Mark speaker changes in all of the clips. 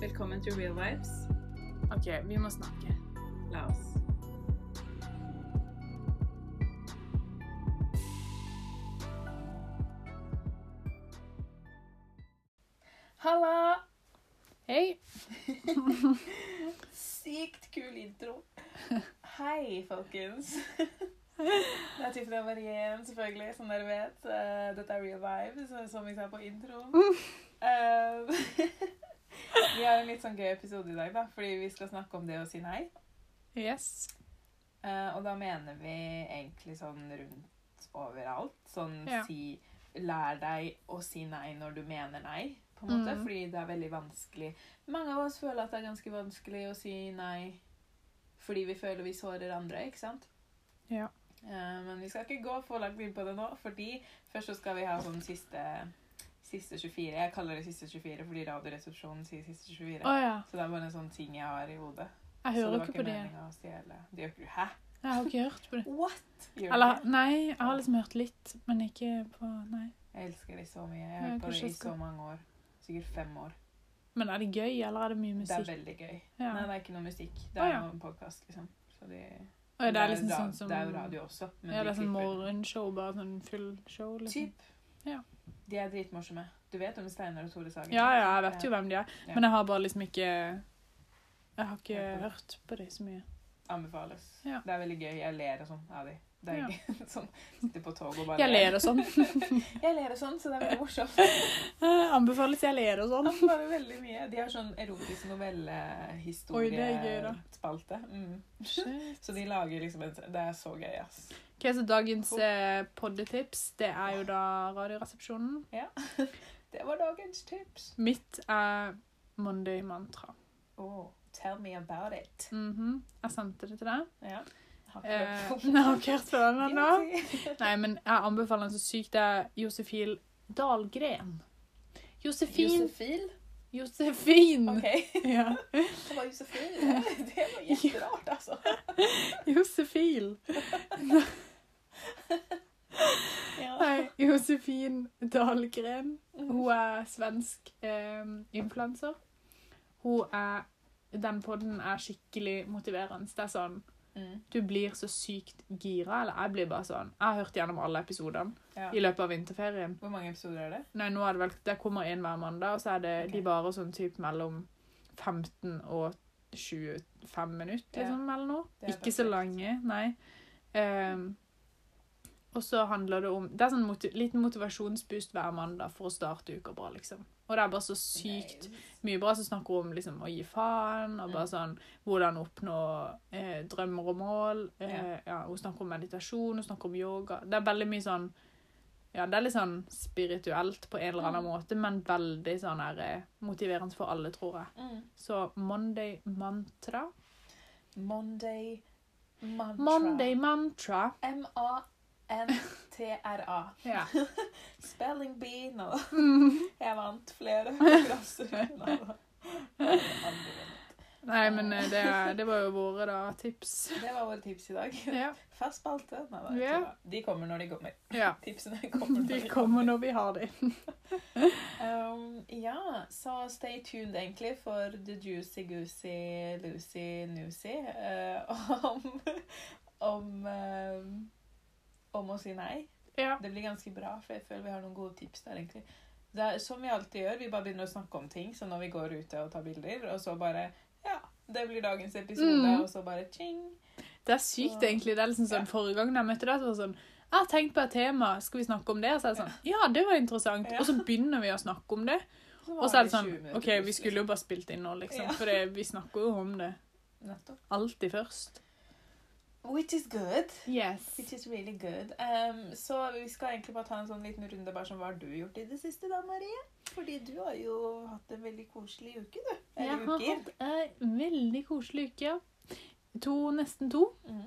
Speaker 1: Velkommen til Real Vibes.
Speaker 2: OK, vi må snakke.
Speaker 1: La oss.
Speaker 2: Halla! Hei.
Speaker 1: Sykt kul intro. Hei, folkens. Det er Tiffany og Marien, selvfølgelig, som dere vet. Eh, Dette er Real Vibes, eh, som vi sa på introen. Eh, vi har en litt sånn gøy episode i dag, da, fordi vi skal snakke om det å si nei.
Speaker 2: Yes.
Speaker 1: Eh, Og da mener vi egentlig sånn rundt overalt. Sånn
Speaker 2: Ja.
Speaker 1: si Lær deg å si nei når du mener nei, på en måte.
Speaker 2: Mm.
Speaker 1: Fordi det er veldig vanskelig. Mange av oss føler at det er ganske vanskelig å si nei fordi vi føler vi sårer andre, ikke sant?
Speaker 2: Ja.
Speaker 1: Eh, men vi skal ikke gå for langt inn på det nå, fordi først så skal vi ha sånn siste, siste 24. Jeg kaller det siste 24 fordi Radioresepsjonen sier siste 24.
Speaker 2: Å ja.
Speaker 1: Så det er bare en sånn ting jeg har i hodet. så
Speaker 2: Jeg
Speaker 1: det
Speaker 2: hører
Speaker 1: var
Speaker 2: ikke på det.
Speaker 1: meningen å stjele. Det gjør ikke du. Hæ?
Speaker 2: Jeg har ikke hørt på det.
Speaker 1: What? Gjør du
Speaker 2: Eller
Speaker 1: ikke?
Speaker 2: nei, jeg har liksom hørt litt, men ikke på Nei.
Speaker 1: Jeg elsker det så mye. Jeg har
Speaker 2: Ja,
Speaker 1: hørt på
Speaker 2: kanskje
Speaker 1: det i
Speaker 2: jeg skal-
Speaker 1: så mange år. Sikkert fem år.
Speaker 2: Men er det gøy, eller er det mye
Speaker 1: Det er
Speaker 2: musikk?
Speaker 1: veldig gøy.
Speaker 2: Ja.
Speaker 1: Nei, det er ikke noe musikk. Det
Speaker 2: Å,
Speaker 1: er
Speaker 2: ja.
Speaker 1: noen podkast, liksom. Så de,
Speaker 2: Å ja, det er liksom
Speaker 1: ra-
Speaker 2: sånn som
Speaker 1: det er jo radio også, men
Speaker 2: Ja,
Speaker 1: de
Speaker 2: det er sånn
Speaker 1: klipper.
Speaker 2: morgenshow, bare sånn full show, liksom.
Speaker 1: Typ.
Speaker 2: Ja.
Speaker 1: De er dritmorsomme. Du vet om Steinar og Tore Sagen?
Speaker 2: Ja, ja, jeg vet jo hvem de er,
Speaker 1: Ja.
Speaker 2: men jeg har bare liksom ikke Jeg har ikke
Speaker 1: Hørt på det.
Speaker 2: hørt på det så mye.
Speaker 1: Anbefales.
Speaker 2: Ja.
Speaker 1: Det er veldig gøy. Jeg ler og sånn av de. Det er
Speaker 2: Ja.
Speaker 1: ikke sånn sitter på toget og bare
Speaker 2: Jeg ler og sånn.
Speaker 1: Jeg ler og sånn, så det er veldig morsomt.
Speaker 2: Eh, Anbefales jeg ler og sånn.
Speaker 1: Bare veldig mye. De har sånn erotisk
Speaker 2: Oi, det er gøy, da.
Speaker 1: novellehistoriespalte. Mm.
Speaker 2: Shit.
Speaker 1: Så de lager liksom en Det er så gøy, ass.
Speaker 2: Ok, så Dagens eh, poddetips det er jo da Radioresepsjonen.
Speaker 1: Det var dagens tips.
Speaker 2: Mitt er Monday Mantra.
Speaker 1: Oh, tell me about it.
Speaker 2: Mhm. Jeg sendte det til deg.
Speaker 1: Ja. Har ikke
Speaker 2: Eh,
Speaker 1: hørt på.
Speaker 2: jeg har ikke hørt på den ennå.
Speaker 1: Guilty.
Speaker 2: Nei, men jeg anbefaler den så sykt. Det er Josefin Dahlgren. Josefin!
Speaker 1: Josefil?
Speaker 2: Josefin!
Speaker 1: OK.
Speaker 2: Ja.
Speaker 1: Det var Josefil. Det var gjetterart, altså.
Speaker 2: Josefin.
Speaker 1: Ja.
Speaker 2: Nei, Josefin Dahlgren. Hun er svensk eh, influenser. Hun er Den podden er skikkelig motiverende. Det er sånn
Speaker 1: Mm.
Speaker 2: Du blir så sykt gira. Eller jeg blir bare sånn. Jeg har hørt gjennom alle episodene
Speaker 1: Ja.
Speaker 2: i løpet av vinterferien.
Speaker 1: Hvor mange episoder er det?
Speaker 2: Nei, nå er det vel Det kommer én hver mandag, og så er det
Speaker 1: Ok.
Speaker 2: De varer sånn typ mellom 15 og 25 minutter,
Speaker 1: Ja.
Speaker 2: liksom, eller noe.
Speaker 1: Det er
Speaker 2: Ikke så
Speaker 1: perfekt.
Speaker 2: lange, nei. Ehm, og så handler det om Det er sånn moti liten motivasjonsboost hver mandag for å starte uka bra, liksom. Og det er bare så sykt mye bra som snakker om liksom, å gi faen, og bare sånn hvordan oppnå eh, drømmer og mål. Eh, ja, hun snakker om meditasjon, hun snakker om yoga. Det er veldig mye sånn ja, Det er litt sånn spirituelt på en eller annen måte, men veldig sånn her, eh, motiverende for alle, tror jeg.
Speaker 1: Mm.
Speaker 2: Så Monday Mantra
Speaker 1: Monday Mantra.
Speaker 2: Monday Mantra.
Speaker 1: M-A-N-T-R-A.
Speaker 2: Ja.
Speaker 1: Spelling bee nå. Jeg vant flere konkurranser. Nei da.
Speaker 2: Nei, men eh, det, er- det var jo våre da, tips.
Speaker 1: Det var våre tips i dag.
Speaker 2: Ja.
Speaker 1: Fast spalte. Nei da.
Speaker 2: Ja.
Speaker 1: tulla. De kommer når de kommer.
Speaker 2: ja.
Speaker 1: Tipsene kommer når
Speaker 2: De kommer når vi har dem.
Speaker 1: Um, ja, så stay tuned egentlig for The Juicy Goosey Lucy Noosey eh, om om, eh, om å si nei.
Speaker 2: Ja.
Speaker 1: Det blir ganske bra, for jeg føler vi har noen gode tips der, egentlig. Det er som vi alltid gjør, vi bare begynner å snakke om ting, så når vi går ute og tar bilder, og så bare Ja, det blir dagens episode,
Speaker 2: Mm.
Speaker 1: og så bare ching.
Speaker 2: Det er sykt, egentlig. Det er liksom sånn, Forrige gang jeg møtte deg, så var det sånn Jeg har tenkt på et tema, skal vi snakke om det? Og så er det sånn Ja, det var interessant.
Speaker 1: Ja.
Speaker 2: Og så begynner vi å snakke om det.
Speaker 1: Så
Speaker 2: Og så
Speaker 1: var
Speaker 2: er det sånn
Speaker 1: 20 minutter
Speaker 2: OK, vi
Speaker 1: plutselig.
Speaker 2: skulle jo bare spilt inn nå, liksom.
Speaker 1: Ja.
Speaker 2: For det, vi snakker jo om det
Speaker 1: Nettopp.
Speaker 2: alltid først.
Speaker 1: Which is good.
Speaker 2: Yes.
Speaker 1: Which is really good. Um, så vi skal egentlig bare ta en sånn liten runde bare som hva har du gjort i det siste da, Marie? Fordi du har jo hatt en veldig koselig uke, du.
Speaker 2: Jeg
Speaker 1: Eller
Speaker 2: har
Speaker 1: uker.
Speaker 2: hatt ei veldig koselig uke. To, nesten to.
Speaker 1: Mm.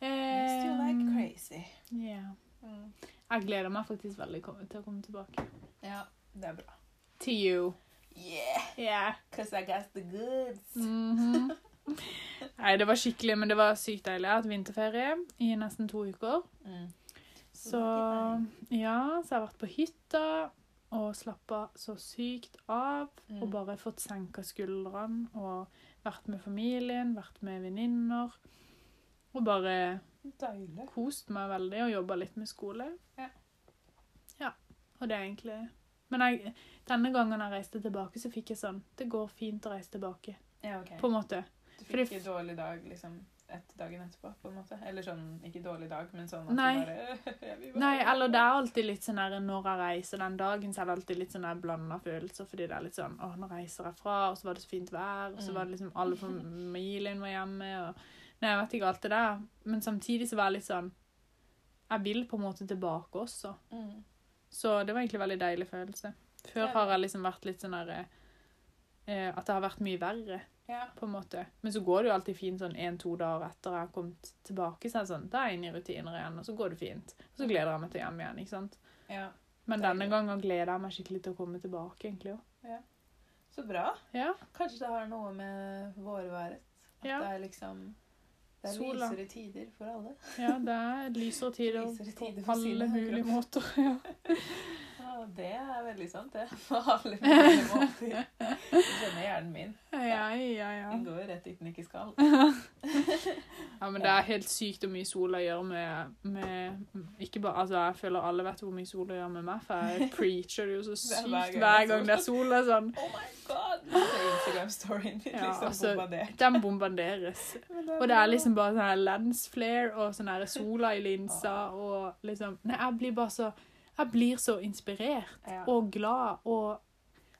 Speaker 1: Missed you like
Speaker 2: Eh,
Speaker 1: crazy.
Speaker 2: ja.
Speaker 1: Mm.
Speaker 2: Jeg gleder meg faktisk veldig ko- til å komme tilbake.
Speaker 1: Ja, det er bra.
Speaker 2: To you.
Speaker 1: Yeah,
Speaker 2: Yeah.
Speaker 1: cause I got the goods.
Speaker 2: Mhm. Nei, det var skikkelig, men det var sykt deilig. Jeg har hatt vinterferie i nesten to uker.
Speaker 1: Mm.
Speaker 2: Så ja, så jeg har vært på hytta. og slappa så sykt av.
Speaker 1: Mm.
Speaker 2: Og bare fått senka skuldrene og vært med familien, vært med venninner. Og bare
Speaker 1: Deilig.
Speaker 2: kost meg veldig og jobba litt med skole.
Speaker 1: Ja.
Speaker 2: Ja, Og det er egentlig Men jeg, denne gangen jeg reiste tilbake, så fikk jeg sånn Det går fint å reise tilbake,
Speaker 1: Ja, ok.
Speaker 2: på en måte.
Speaker 1: Du fikk
Speaker 2: Fordi-
Speaker 1: ikke dårlig dag liksom et dagen etterpå, på en måte? Eller sånn, ikke dårlig dag, men sånn at
Speaker 2: Nei.
Speaker 1: du bare jeg vil bare-
Speaker 2: Nei, eller det er alltid litt sånn her Når jeg reiser den dagen, så er det alltid litt sånn her blanda følelser. Fordi det er litt sånn Å, nå reiser jeg fra, og så var det så fint vær, og så
Speaker 1: Mm.
Speaker 2: var det liksom alle familien var hjemme, og Nei, jeg vet ikke alt det der. Men samtidig så var jeg litt sånn Jeg vil på en måte tilbake også.
Speaker 1: Mm.
Speaker 2: Så det var egentlig en veldig deilig følelse. Før
Speaker 1: Ja.
Speaker 2: har jeg liksom vært litt sånn her eh, At det har vært mye verre,
Speaker 1: Ja.
Speaker 2: på en måte. Men så går det jo alltid fint sånn en-to dager etter jeg har kommet tilbake. Så er det sånn, da er jeg inne i rutiner igjen, og så går det fint. Og så gleder jeg meg til hjem igjen. ikke sant?
Speaker 1: ja.
Speaker 2: Men
Speaker 1: Det er
Speaker 2: denne
Speaker 1: godt.
Speaker 2: gangen gleder jeg meg skikkelig til å komme tilbake, egentlig òg.
Speaker 1: Så bra.
Speaker 2: Ja.
Speaker 1: Kanskje det har noe med vårværet At
Speaker 2: Ja.
Speaker 1: det er liksom Det er
Speaker 2: Sola.
Speaker 1: lysere tider for alle.
Speaker 2: ja, det er lysere tider
Speaker 1: Lysere
Speaker 2: på
Speaker 1: tider for
Speaker 2: alle
Speaker 1: sinne og
Speaker 2: mulige
Speaker 1: kropp.
Speaker 2: måter. Ja.
Speaker 1: Ja, det er veldig sant, det. På alle mulige måter. Du skjønner hjernen min.
Speaker 2: Ja, ja, ja.
Speaker 1: Den går jo rett dit den ikke skal. Oh
Speaker 2: ja, men det er helt sykt hvor mye sola gjør med, med Ikke bare Altså, jeg føler alle vet hvor mye sola gjør med meg, for jeg preacher det jo så
Speaker 1: Det er
Speaker 2: sykt
Speaker 1: hver gang det
Speaker 2: hver
Speaker 1: er sol.
Speaker 2: gang det er sol. Det er sånn
Speaker 1: Oh my god! Det er Instagram-storyen min
Speaker 2: Ja,
Speaker 1: liksom
Speaker 2: altså,
Speaker 1: bombardert.
Speaker 2: Den bombarderes. Og det er liksom bare sånn her lens flare og sånn her sola i linsa og liksom Nei, jeg blir bare så Jeg blir så inspirert
Speaker 1: ja.
Speaker 2: og glad og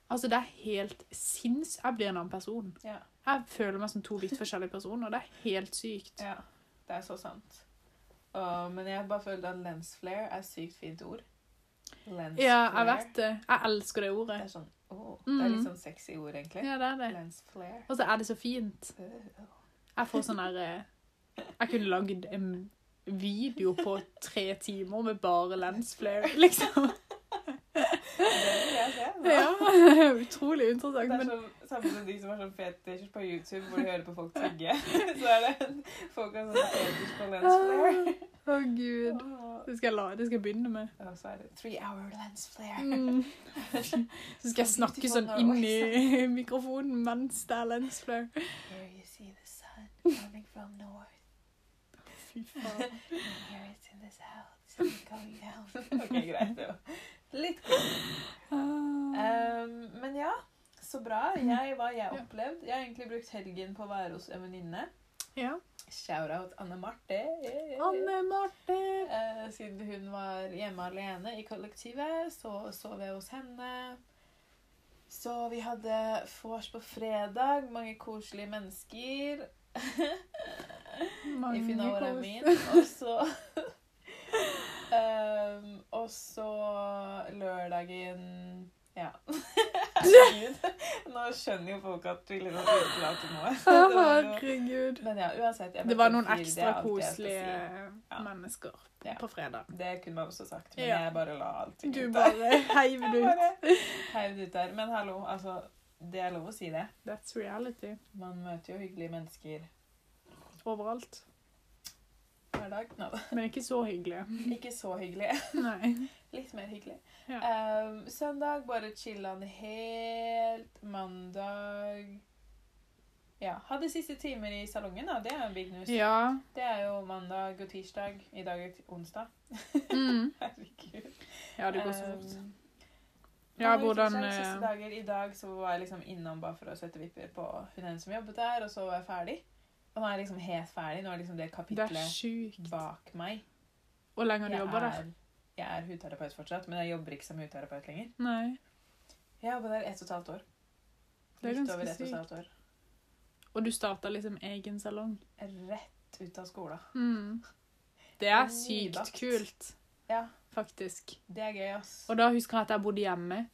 Speaker 2: Altså, det er helt sinns... Jeg blir en annen person.
Speaker 1: Ja.
Speaker 2: Jeg føler meg som to vidt forskjellige personer. Det er helt sykt.
Speaker 1: ja. Det er så sant. Åh, men jeg bare følte at lensflare er et sykt fint ord. Lensflare.
Speaker 2: Ja, jeg vet det. Mm. Jeg elsker det ordet.
Speaker 1: Det er sånn åh, Det er litt sånn sexy ord, egentlig.
Speaker 2: Ja, det er det.
Speaker 1: Lensflare.
Speaker 2: Og så er det så fint.
Speaker 1: Øh.
Speaker 2: Jeg får sånn her eh, Jeg kunne lagd en video på tre timer med bare lens flare, liksom.
Speaker 1: Det vil jeg se. nå.
Speaker 2: Ja, Utrolig
Speaker 1: Det
Speaker 2: interessant.
Speaker 1: er
Speaker 2: Men
Speaker 1: som, samme som de som har sånn fetisj på YouTube hvor de hører på folk tygge. Så er det folk har sånn fetisj på lensflare.
Speaker 2: Å, Ah, gud.
Speaker 1: Åh.
Speaker 2: Det skal jeg, la, det skal jeg begynne med.
Speaker 1: Og så er det three hour lensflare.
Speaker 2: Mm. Så skal jeg snakke sånn inn i mikrofonen mens det er lens flare.
Speaker 1: Here you see the sun coming from north.
Speaker 2: Fy faen.
Speaker 1: And here it's in this house going down. ok, greit. Det var litt kult.
Speaker 2: Ah.
Speaker 1: Ehm, men ja, så bra. Jeg, hva jeg
Speaker 2: Ja.
Speaker 1: opplevde Jeg har egentlig brukt helgen på å være hos en venninne.
Speaker 2: Ja.
Speaker 1: Shout-out Anne Marte.
Speaker 2: Anne Marte.
Speaker 1: Eh, siden hun var hjemme alene i kollektivet, så sov jeg hos henne. Så vi hadde vors på fredag. Mange koselige mennesker. If you know what I mean. Og så Ehm, Og så lørdagen Ja. Herregud. Nå skjønner jo folk at vi liksom utelater noe. Det var jo-
Speaker 2: Herregud.
Speaker 1: Men ja, uansett. jeg
Speaker 2: Det var
Speaker 1: ble
Speaker 2: noen
Speaker 1: fire, det er
Speaker 2: ekstra
Speaker 1: alt jeg skal si.
Speaker 2: koselige
Speaker 1: Ja.
Speaker 2: mennesker
Speaker 1: Ja.
Speaker 2: på fredag.
Speaker 1: Det kunne man også sagt, men
Speaker 2: Ja.
Speaker 1: jeg bare la alt
Speaker 2: Du
Speaker 1: ut der.
Speaker 2: bare heiv det
Speaker 1: Jeg
Speaker 2: ut.
Speaker 1: bare heiv det ut der. Men hallo, altså. Det er lov å si det.
Speaker 2: That's reality.
Speaker 1: Man møter jo hyggelige mennesker
Speaker 2: Overalt.
Speaker 1: hver dag. Nå,
Speaker 2: Men ikke så hyggelig.
Speaker 1: ikke så hyggelige.
Speaker 2: Nei.
Speaker 1: Litt mer hyggelig.
Speaker 2: Ja.
Speaker 1: Ehm, søndag bare chillan helt. Mandag Ja. Hadde siste timer i salongen, da. Det er jo big news.
Speaker 2: Ja.
Speaker 1: Det er jo mandag og tirsdag. I dag er det onsdag.
Speaker 2: Mm.
Speaker 1: Herregud.
Speaker 2: Ja, det går så fort.
Speaker 1: Ehm,
Speaker 2: Ja,
Speaker 1: mandag og
Speaker 2: hvordan
Speaker 1: tirsdag, Siste
Speaker 2: eh,
Speaker 1: dager. I dag så var jeg liksom innom bare for å sette vipper på hun ene som jobbet der, og så var jeg ferdig. Og nå er jeg liksom helt ferdig. Nå er liksom det
Speaker 2: Det er
Speaker 1: kapitlet
Speaker 2: sjukt.
Speaker 1: bak meg.
Speaker 2: Hvor lenge har du
Speaker 1: Jeg
Speaker 2: jobba der?
Speaker 1: er, jeg er hudterapeut fortsatt, men jeg jobber ikke som hudterapeut lenger.
Speaker 2: Nei.
Speaker 1: Jeg jobba der ett og et halvt år.
Speaker 2: Det er
Speaker 1: Litt
Speaker 2: ganske
Speaker 1: over ett og et halvt år.
Speaker 2: Og du starta liksom egen salong.
Speaker 1: Rett ut av skolen.
Speaker 2: Mm. Det er
Speaker 1: Nybakt.
Speaker 2: sykt kult,
Speaker 1: Ja,
Speaker 2: faktisk.
Speaker 1: det er gøy, ass.
Speaker 2: Og da husker jeg at jeg bodde hjemme.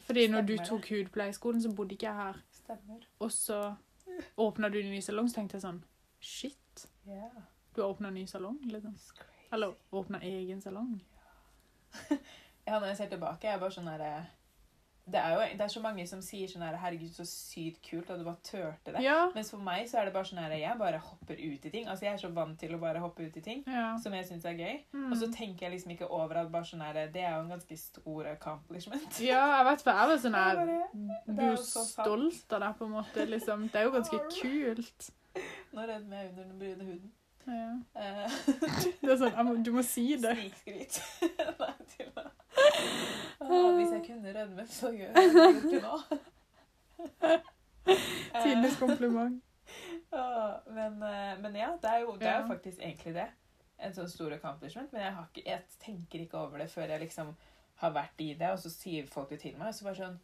Speaker 2: Fordi når du
Speaker 1: Stemmer det.
Speaker 2: tok hudpleieskolen, så bodde ikke jeg her.
Speaker 1: Stemmer.
Speaker 2: Og så åpna du en ny salong, så tenkte jeg sånn Shit,
Speaker 1: Ja.
Speaker 2: du har åpna en ny salong? Liksom.
Speaker 1: It's crazy.
Speaker 2: Eller åpna egen salong?
Speaker 1: Ja, når jeg ser tilbake, jeg er bare sånn herre det er jo det er så mange som sier sånn her Herregud, så sykt kult at du bare turte det.
Speaker 2: Ja.
Speaker 1: Mens for meg så er det bare sånn her Jeg bare hopper ut i ting. Altså, jeg er så vant til å bare hoppe ut i ting
Speaker 2: ja.
Speaker 1: som jeg syns er gøy.
Speaker 2: Mm.
Speaker 1: Og så tenker jeg liksom ikke over at bare sånn her Det er jo en ganske stor accomplishment.
Speaker 2: Ja, jeg vet hva jeg var sånn
Speaker 1: Jeg
Speaker 2: her
Speaker 1: bare, det
Speaker 2: Blir
Speaker 1: er
Speaker 2: jo
Speaker 1: jo så sant.
Speaker 2: stolt av det, på en måte. liksom. Det er jo ganske kult.
Speaker 1: Nå rødmer jeg under den brune huden.
Speaker 2: Ja.
Speaker 1: Eh,
Speaker 2: Det er sånn, jeg må- Du må si det.
Speaker 1: Snikskryt. Nei, til meg. Ah, Hvis jeg kunne rødme, så gjør jeg det ikke nå. Eh,
Speaker 2: Tidenes kompliment.
Speaker 1: ah, men, eh, men ja, det er, jo, det er jo
Speaker 2: Ja.
Speaker 1: faktisk egentlig det. En sånn stor accomplishment. Men jeg, har ikke, jeg tenker ikke over det før jeg liksom har vært i det, og så sier folk det til meg. Og så bare sånn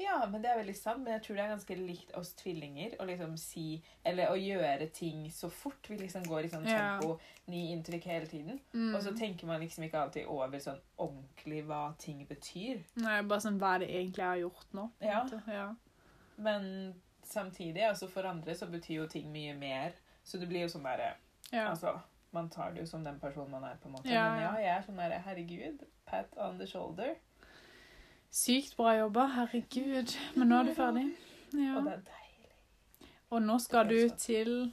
Speaker 1: Ja, men det er veldig sant, men jeg tror det er ganske likt oss tvillinger å liksom si Eller å gjøre ting så fort. Vi liksom går i sånn
Speaker 2: Ja.
Speaker 1: tempo, ny inntrykk hele tiden.
Speaker 2: Mm.
Speaker 1: Og så tenker man liksom ikke alltid over sånn ordentlig hva ting betyr.
Speaker 2: Nei, bare sånn hva er det egentlig jeg har gjort nå? på en
Speaker 1: Ja.
Speaker 2: måte. ja.
Speaker 1: Men samtidig, altså for andre så betyr jo ting mye mer. Så det blir jo sånn derre
Speaker 2: ja.
Speaker 1: Altså, man tar det jo som den personen man er, på en måte.
Speaker 2: Ja,
Speaker 1: Men
Speaker 2: ja.
Speaker 1: ja, jeg er sånn derre Herregud. Pat on the shoulder.
Speaker 2: Sykt bra jobba. Herregud. Men nå er du ferdig.
Speaker 1: Og det
Speaker 2: Ja.
Speaker 1: er deilig.
Speaker 2: Og nå skal du til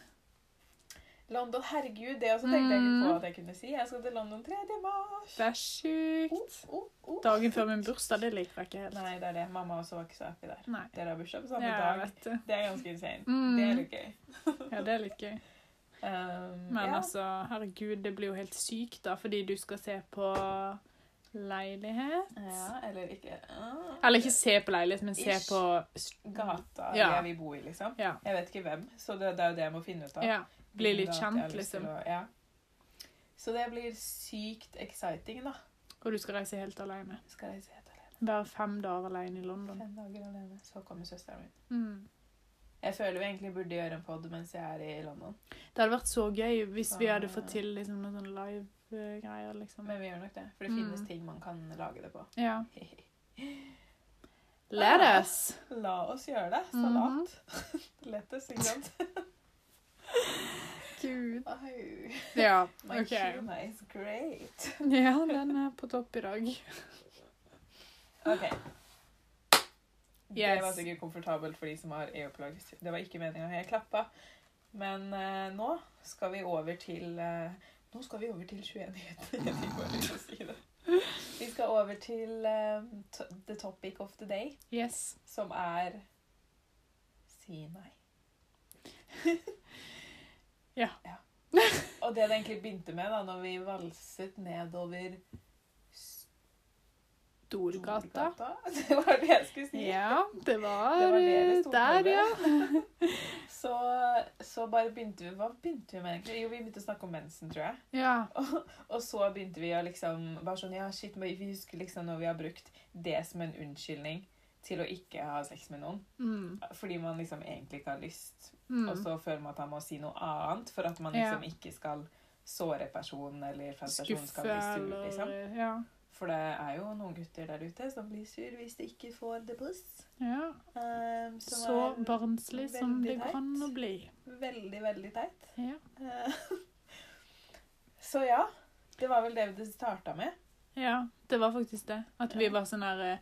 Speaker 1: London, herregud. Det også tenkte jeg ikke på
Speaker 2: Mm.
Speaker 1: at jeg kunne si. Jeg skal til London 3. mars.
Speaker 2: Det er sjukt.
Speaker 1: Oh, oh.
Speaker 2: Dagen før min bursdag, det liker jeg ikke helt.
Speaker 1: Nei, det er det. Mamma også var ikke så happy der.
Speaker 2: Nei.
Speaker 1: Dere har bursdag på samme
Speaker 2: Ja, jeg
Speaker 1: dag.
Speaker 2: vet det.
Speaker 1: Det er ganske insane.
Speaker 2: Mm.
Speaker 1: Det er litt gøy.
Speaker 2: Ja, det er litt gøy.
Speaker 1: Um,
Speaker 2: Men
Speaker 1: ja.
Speaker 2: altså, herregud, det blir jo helt sykt da, fordi du skal se på leilighet.
Speaker 1: Ja, eller ikke Ah.
Speaker 2: Eller ikke se på leilighet, men se
Speaker 1: Ish.
Speaker 2: på
Speaker 1: Gata
Speaker 2: Ja.
Speaker 1: der vi bor i, liksom.
Speaker 2: Ja.
Speaker 1: Jeg vet ikke hvem, så det, det er jo det jeg må finne ut av.
Speaker 2: ja. Bli litt
Speaker 1: Hvilken gate jeg har
Speaker 2: kjent,
Speaker 1: lyst til
Speaker 2: liksom.
Speaker 1: å- ja. Så det blir sykt exciting, da.
Speaker 2: Og du skal reise helt alene.
Speaker 1: Skal jeg se helt alene.
Speaker 2: Være fem dager alene i London.
Speaker 1: Fem dager alene. Så kommer søsteren min.
Speaker 2: Mm.
Speaker 1: Jeg føler vi egentlig burde gjøre en pod mens jeg er i London,
Speaker 2: Det hadde vært så gøy hvis vi hadde fått
Speaker 1: Ah.
Speaker 2: til liksom, noen sånne live-greier, liksom.
Speaker 1: men vi gjør nok det. For det
Speaker 2: Mm.
Speaker 1: finnes ting man kan lage det på.
Speaker 2: Ja. Let
Speaker 1: Ah.
Speaker 2: us!
Speaker 1: La oss gjøre det.
Speaker 2: Mhm.
Speaker 1: Salat. Lettest, ikke sant?
Speaker 2: Gud.
Speaker 1: Au.
Speaker 2: Ja,
Speaker 1: My
Speaker 2: OK.
Speaker 1: tuna is great.
Speaker 2: Ja, den er på topp i dag.
Speaker 1: Ok. Det var
Speaker 2: Yes.
Speaker 1: sikkert komfortabelt for de som har EU-plagg. Det var ikke meninga jeg klappa. Men eh, nå skal vi over til eh, Nå skal vi over til 21 nyheter. Jeg fikk bare lyst til å si det. Vi skal over til eh, to- the topic of the day,
Speaker 2: Yes.
Speaker 1: som er Si nei.
Speaker 2: Ja.
Speaker 1: Og det det egentlig begynte med da når vi valset nedover
Speaker 2: Storgata.
Speaker 1: Det var det jeg skulle si.
Speaker 2: Ja, det var,
Speaker 1: Det var dere
Speaker 2: eh,
Speaker 1: sto på
Speaker 2: der,
Speaker 1: det.
Speaker 2: ja.
Speaker 1: Så, så bare begynte vi Hva begynte vi med egentlig? Jo, vi begynte å snakke om mensen, tror jeg.
Speaker 2: Ja.
Speaker 1: Og så begynte vi å liksom bare sånn, ja, shit, men Vi husker liksom når vi har brukt det som en unnskyldning til å ikke ha sex med noen.
Speaker 2: Mm.
Speaker 1: Fordi man liksom egentlig ikke har lyst.
Speaker 2: Mm.
Speaker 1: Og så føler man at man må si noe annet for at man
Speaker 2: Ja.
Speaker 1: liksom ikke skal såre personen. eller for at personen
Speaker 2: Skuffe
Speaker 1: skal bli sur,
Speaker 2: eller
Speaker 1: liksom.
Speaker 2: ja.
Speaker 1: For det er jo noen gutter der ute som blir sur hvis de ikke får the puss.
Speaker 2: ja.
Speaker 1: Um, som
Speaker 2: Så
Speaker 1: er
Speaker 2: barnslig som
Speaker 1: veldig
Speaker 2: det kan
Speaker 1: teit.
Speaker 2: å bli.
Speaker 1: veldig, veldig teit.
Speaker 2: Ja.
Speaker 1: Eh, Så ja, det var vel det det starta med.
Speaker 2: ja. Det var faktisk det. At vi
Speaker 1: Ja.
Speaker 2: var sånn her eh,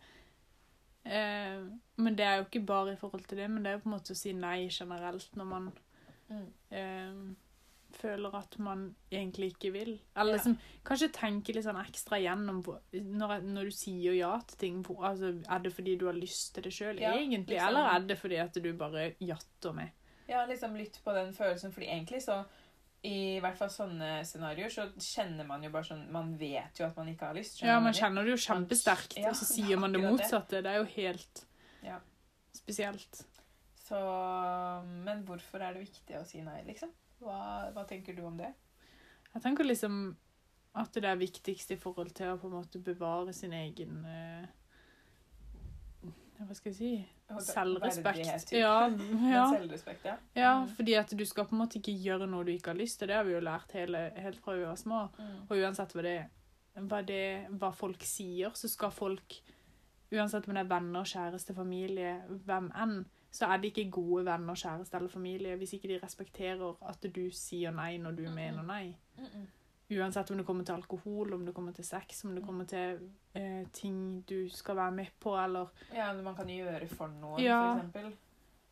Speaker 2: eh, Men det er jo ikke bare i forhold til det, men det er jo på en måte å si nei generelt når man eh, føler at man egentlig ikke vil. Eller
Speaker 1: Ja.
Speaker 2: liksom, kanskje tenke litt sånn ekstra gjennom hvor- når, når du sier ja til ting. Hvor, altså, er det fordi du har lyst til det sjøl,
Speaker 1: Ja,
Speaker 2: egentlig?
Speaker 1: liksom.
Speaker 2: Eller er det fordi at du bare jatter med?
Speaker 1: Ja, liksom lytt på den følelsen, fordi egentlig så I hvert fall sånne scenarioer så kjenner man jo bare sånn Man vet jo at man ikke har lyst. skjønner
Speaker 2: Ja,
Speaker 1: du
Speaker 2: man
Speaker 1: hva jeg
Speaker 2: kjenner det jo
Speaker 1: Man-
Speaker 2: kjempesterkt,
Speaker 1: Ja,
Speaker 2: og så sier man det
Speaker 1: akkurat det.
Speaker 2: motsatte. Det er jo helt
Speaker 1: Ja.
Speaker 2: spesielt.
Speaker 1: mener? Så Men hvorfor er det viktig å si nei, liksom? Hva, hva tenker du om det?
Speaker 2: Jeg tenker liksom at det er viktigst i forhold til å på en måte bevare sin egen eh, Hva skal jeg si Selvrespekt.
Speaker 1: Verdighet, typ.
Speaker 2: Ja,
Speaker 1: Men
Speaker 2: ja.
Speaker 1: Selvrespekt, ja.
Speaker 2: ja,
Speaker 1: Mm.
Speaker 2: fordi at du skal på en måte ikke gjøre noe du ikke har lyst til. Det har vi jo lært hele, helt fra vi var små.
Speaker 1: Mm.
Speaker 2: Og uansett hva det, hva det hva folk sier, så skal folk Uansett om det er venner, kjæreste, familie, hvem enn, så er de ikke gode venner, kjæreste eller familie hvis ikke de respekterer at du sier nei når du
Speaker 1: Mm-mm.
Speaker 2: mener nei.
Speaker 1: Mm -mm.
Speaker 2: Uansett om det kommer til alkohol, om det kommer til sex, om det kommer til eh, ting du skal være med på, eller
Speaker 1: Ja, men man kan gjøre for noen,
Speaker 2: Ja.
Speaker 1: for eksempel.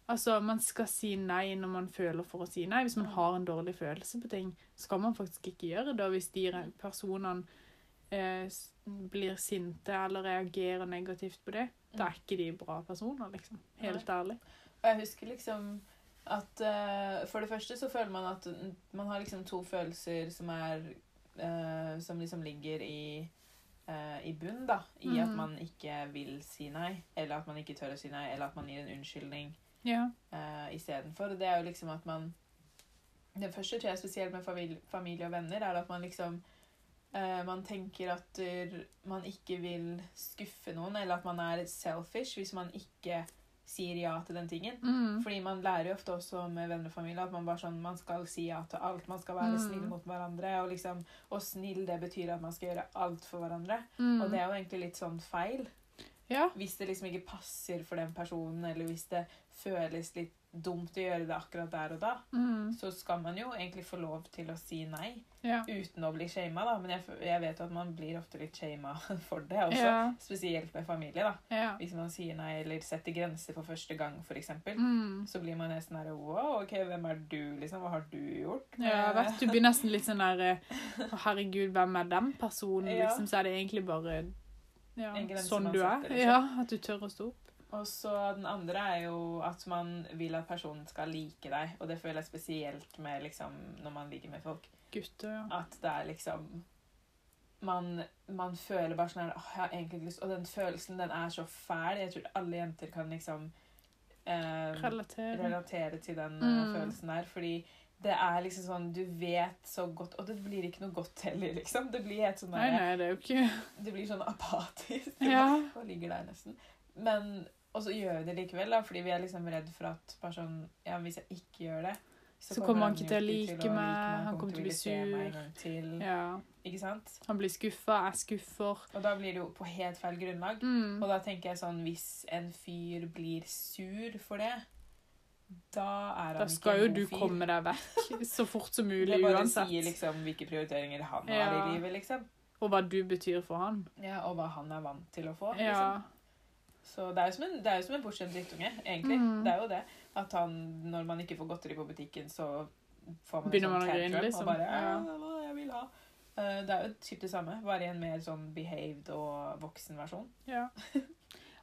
Speaker 2: Altså, man skal si nei når man føler for å si nei. Hvis man
Speaker 1: Mm.
Speaker 2: har en dårlig følelse på ting, skal man faktisk ikke gjøre det. Og hvis de
Speaker 1: Mm.
Speaker 2: re- personene eh, s- blir sinte eller reagerer negativt på det,
Speaker 1: Mm.
Speaker 2: da er ikke de bra personer, liksom. Helt ærlig.
Speaker 1: Og jeg husker liksom at eh, For det første så føler man at n- man har liksom to følelser som er eh, Som liksom ligger i eh, i bunn, da. I at
Speaker 2: Mhm.
Speaker 1: man ikke vil si nei, eller at man ikke tør å si nei, eller at man gir en unnskyldning
Speaker 2: Ja.
Speaker 1: uh, istedenfor. Og det er jo liksom at man Det første tror jeg spesielt med famil- familie og venner, er at man liksom eh, man tenker at eh, man ikke vil skuffe noen, eller at man er selfish hvis man ikke sier ja til den tingen.
Speaker 2: Mm.
Speaker 1: Fordi man lærer jo ofte også med venner og familie at man bare sånn, man skal si ja til alt. Man skal være
Speaker 2: Mm.
Speaker 1: snill mot hverandre. Og liksom, og snill det betyr at man skal gjøre alt for hverandre. Og det
Speaker 2: Mm.
Speaker 1: er jo egentlig litt sånn feil.
Speaker 2: Ja.
Speaker 1: Hvis det liksom ikke passer for den personen, eller hvis det føles litt dumt å gjøre det akkurat der og da,
Speaker 2: Mm.
Speaker 1: så skal man jo egentlig få lov til å si nei.
Speaker 2: Ja.
Speaker 1: Uten å bli shama, da. Men jeg, f- jeg vet jo at man blir ofte litt shama for det også.
Speaker 2: Ja.
Speaker 1: Spesielt med familie, da.
Speaker 2: Ja.
Speaker 1: Hvis man sier nei eller setter grenser for første gang, for eksempel
Speaker 2: Mm.
Speaker 1: så blir man nesten her Wow, ok, hvem er du, liksom? Hva har du gjort? Eh,
Speaker 2: Ja, jeg vet, du blir nesten litt sånn der eh, Å, herregud, hvem er den personen?
Speaker 1: Ja.
Speaker 2: Liksom, så er det egentlig bare ja,
Speaker 1: En grense
Speaker 2: sånn
Speaker 1: man
Speaker 2: du er.
Speaker 1: setter, liksom.
Speaker 2: Ja, at du tør å stå opp.
Speaker 1: Og så den andre er jo at man vil at personen skal like deg. Og det føler jeg spesielt med liksom, når man ligger med folk.
Speaker 2: Gutter, ja.
Speaker 1: At det er liksom man, man føler bare sånn her Åh, jeg har egentlig ikke lyst Og den følelsen, den er så fæl. Jeg tror alle jenter kan liksom eh,
Speaker 2: Relatere.
Speaker 1: relatere til den
Speaker 2: Mm.
Speaker 1: eh, følelsen der. Fordi det er liksom sånn Du vet så godt Og det blir ikke noe godt heller, liksom. Det blir helt sånn
Speaker 2: Nei,
Speaker 1: der,
Speaker 2: nei, det er jo ikke
Speaker 1: Du blir sånn apatisk.
Speaker 2: Ja.
Speaker 1: Og ligger der nesten. Men, og så gjør vi det likevel, da, fordi vi er liksom redd for at bare sånn, ja, hvis jeg ikke gjør det,
Speaker 2: Så kommer han ikke til å
Speaker 1: jo
Speaker 2: like meg, han kommer til å bli
Speaker 1: ville se meg en
Speaker 2: sur.
Speaker 1: gang til,
Speaker 2: ja.
Speaker 1: Ikke sant?
Speaker 2: Han blir skuffa, jeg skuffer.
Speaker 1: Og da blir det jo på helt feil grunnlag.
Speaker 2: Mm.
Speaker 1: Og da tenker jeg sånn, hvis en fyr blir sur for det, da er han
Speaker 2: Da
Speaker 1: ikke en
Speaker 2: skal jo
Speaker 1: god
Speaker 2: du
Speaker 1: fyr.
Speaker 2: komme deg vekk så fort som mulig
Speaker 1: Det bare sier
Speaker 2: uansett.
Speaker 1: liksom hvilke prioriteringer han har
Speaker 2: Ja.
Speaker 1: i livet, liksom.
Speaker 2: Og hva du betyr for han.
Speaker 1: Ja, og hva han er vant til å få. liksom.
Speaker 2: Ja.
Speaker 1: Så det er jo som en, det er jo som en bortskjemt drittunge, egentlig.
Speaker 2: Mm.
Speaker 1: Det er jo det. At han, når man ikke får godteri på butikken, så får man
Speaker 2: Begynner
Speaker 1: en
Speaker 2: man å
Speaker 1: sånn
Speaker 2: grine,
Speaker 1: tantrum
Speaker 2: liksom.
Speaker 1: og bare
Speaker 2: Ja.
Speaker 1: ja, det var det jeg vil ha. Eh, Det er jo typ det samme, bare i en mer sånn behaved og voksen versjon.
Speaker 2: ja.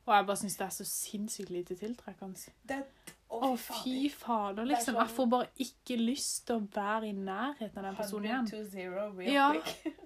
Speaker 2: Og jeg bare syns det er så sinnssykt lite tiltrekkende.
Speaker 1: Det
Speaker 2: Å, fy fader,
Speaker 1: Det er
Speaker 2: liksom.
Speaker 1: sånn-
Speaker 2: Jeg får bare ikke lyst til å være i nærheten av den personen igjen.
Speaker 1: to zero real
Speaker 2: Ja.
Speaker 1: quick.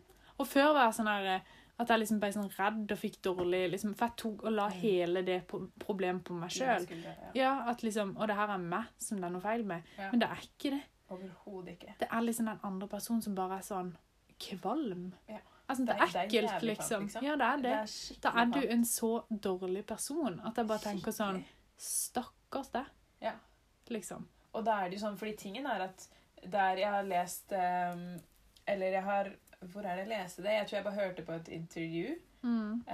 Speaker 2: Og før var jeg sånn her eh, at jeg liksom ble sånn redd og fikk dårlig liksom, For jeg tok og la
Speaker 1: Mm.
Speaker 2: hele det pro- problemet på meg sjøl.
Speaker 1: Ja.
Speaker 2: Ja, at liksom Og det her er meg som det er noe feil med.
Speaker 1: Ja.
Speaker 2: Men det er ikke det.
Speaker 1: Overhodet ikke.
Speaker 2: Det er liksom den andre personen som bare er sånn kvalm.
Speaker 1: Ja.
Speaker 2: Altså, det
Speaker 1: Det
Speaker 2: er
Speaker 1: er- det er jævlig
Speaker 2: ekkelt,
Speaker 1: kvalmt,
Speaker 2: liksom.
Speaker 1: liksom.
Speaker 2: Ja, det er det.
Speaker 1: skikkelig
Speaker 2: Da er du
Speaker 1: fælt.
Speaker 2: en så dårlig person at jeg bare tenker sånn
Speaker 1: Skikkelig.
Speaker 2: Stakkars deg.
Speaker 1: Ja.
Speaker 2: Liksom.
Speaker 1: Og da er det jo sånn, fordi tingen er at der jeg har lest eh, Eller jeg har Hvor er det jeg leste det? Jeg tror jeg bare hørte på et intervju.
Speaker 2: Mm.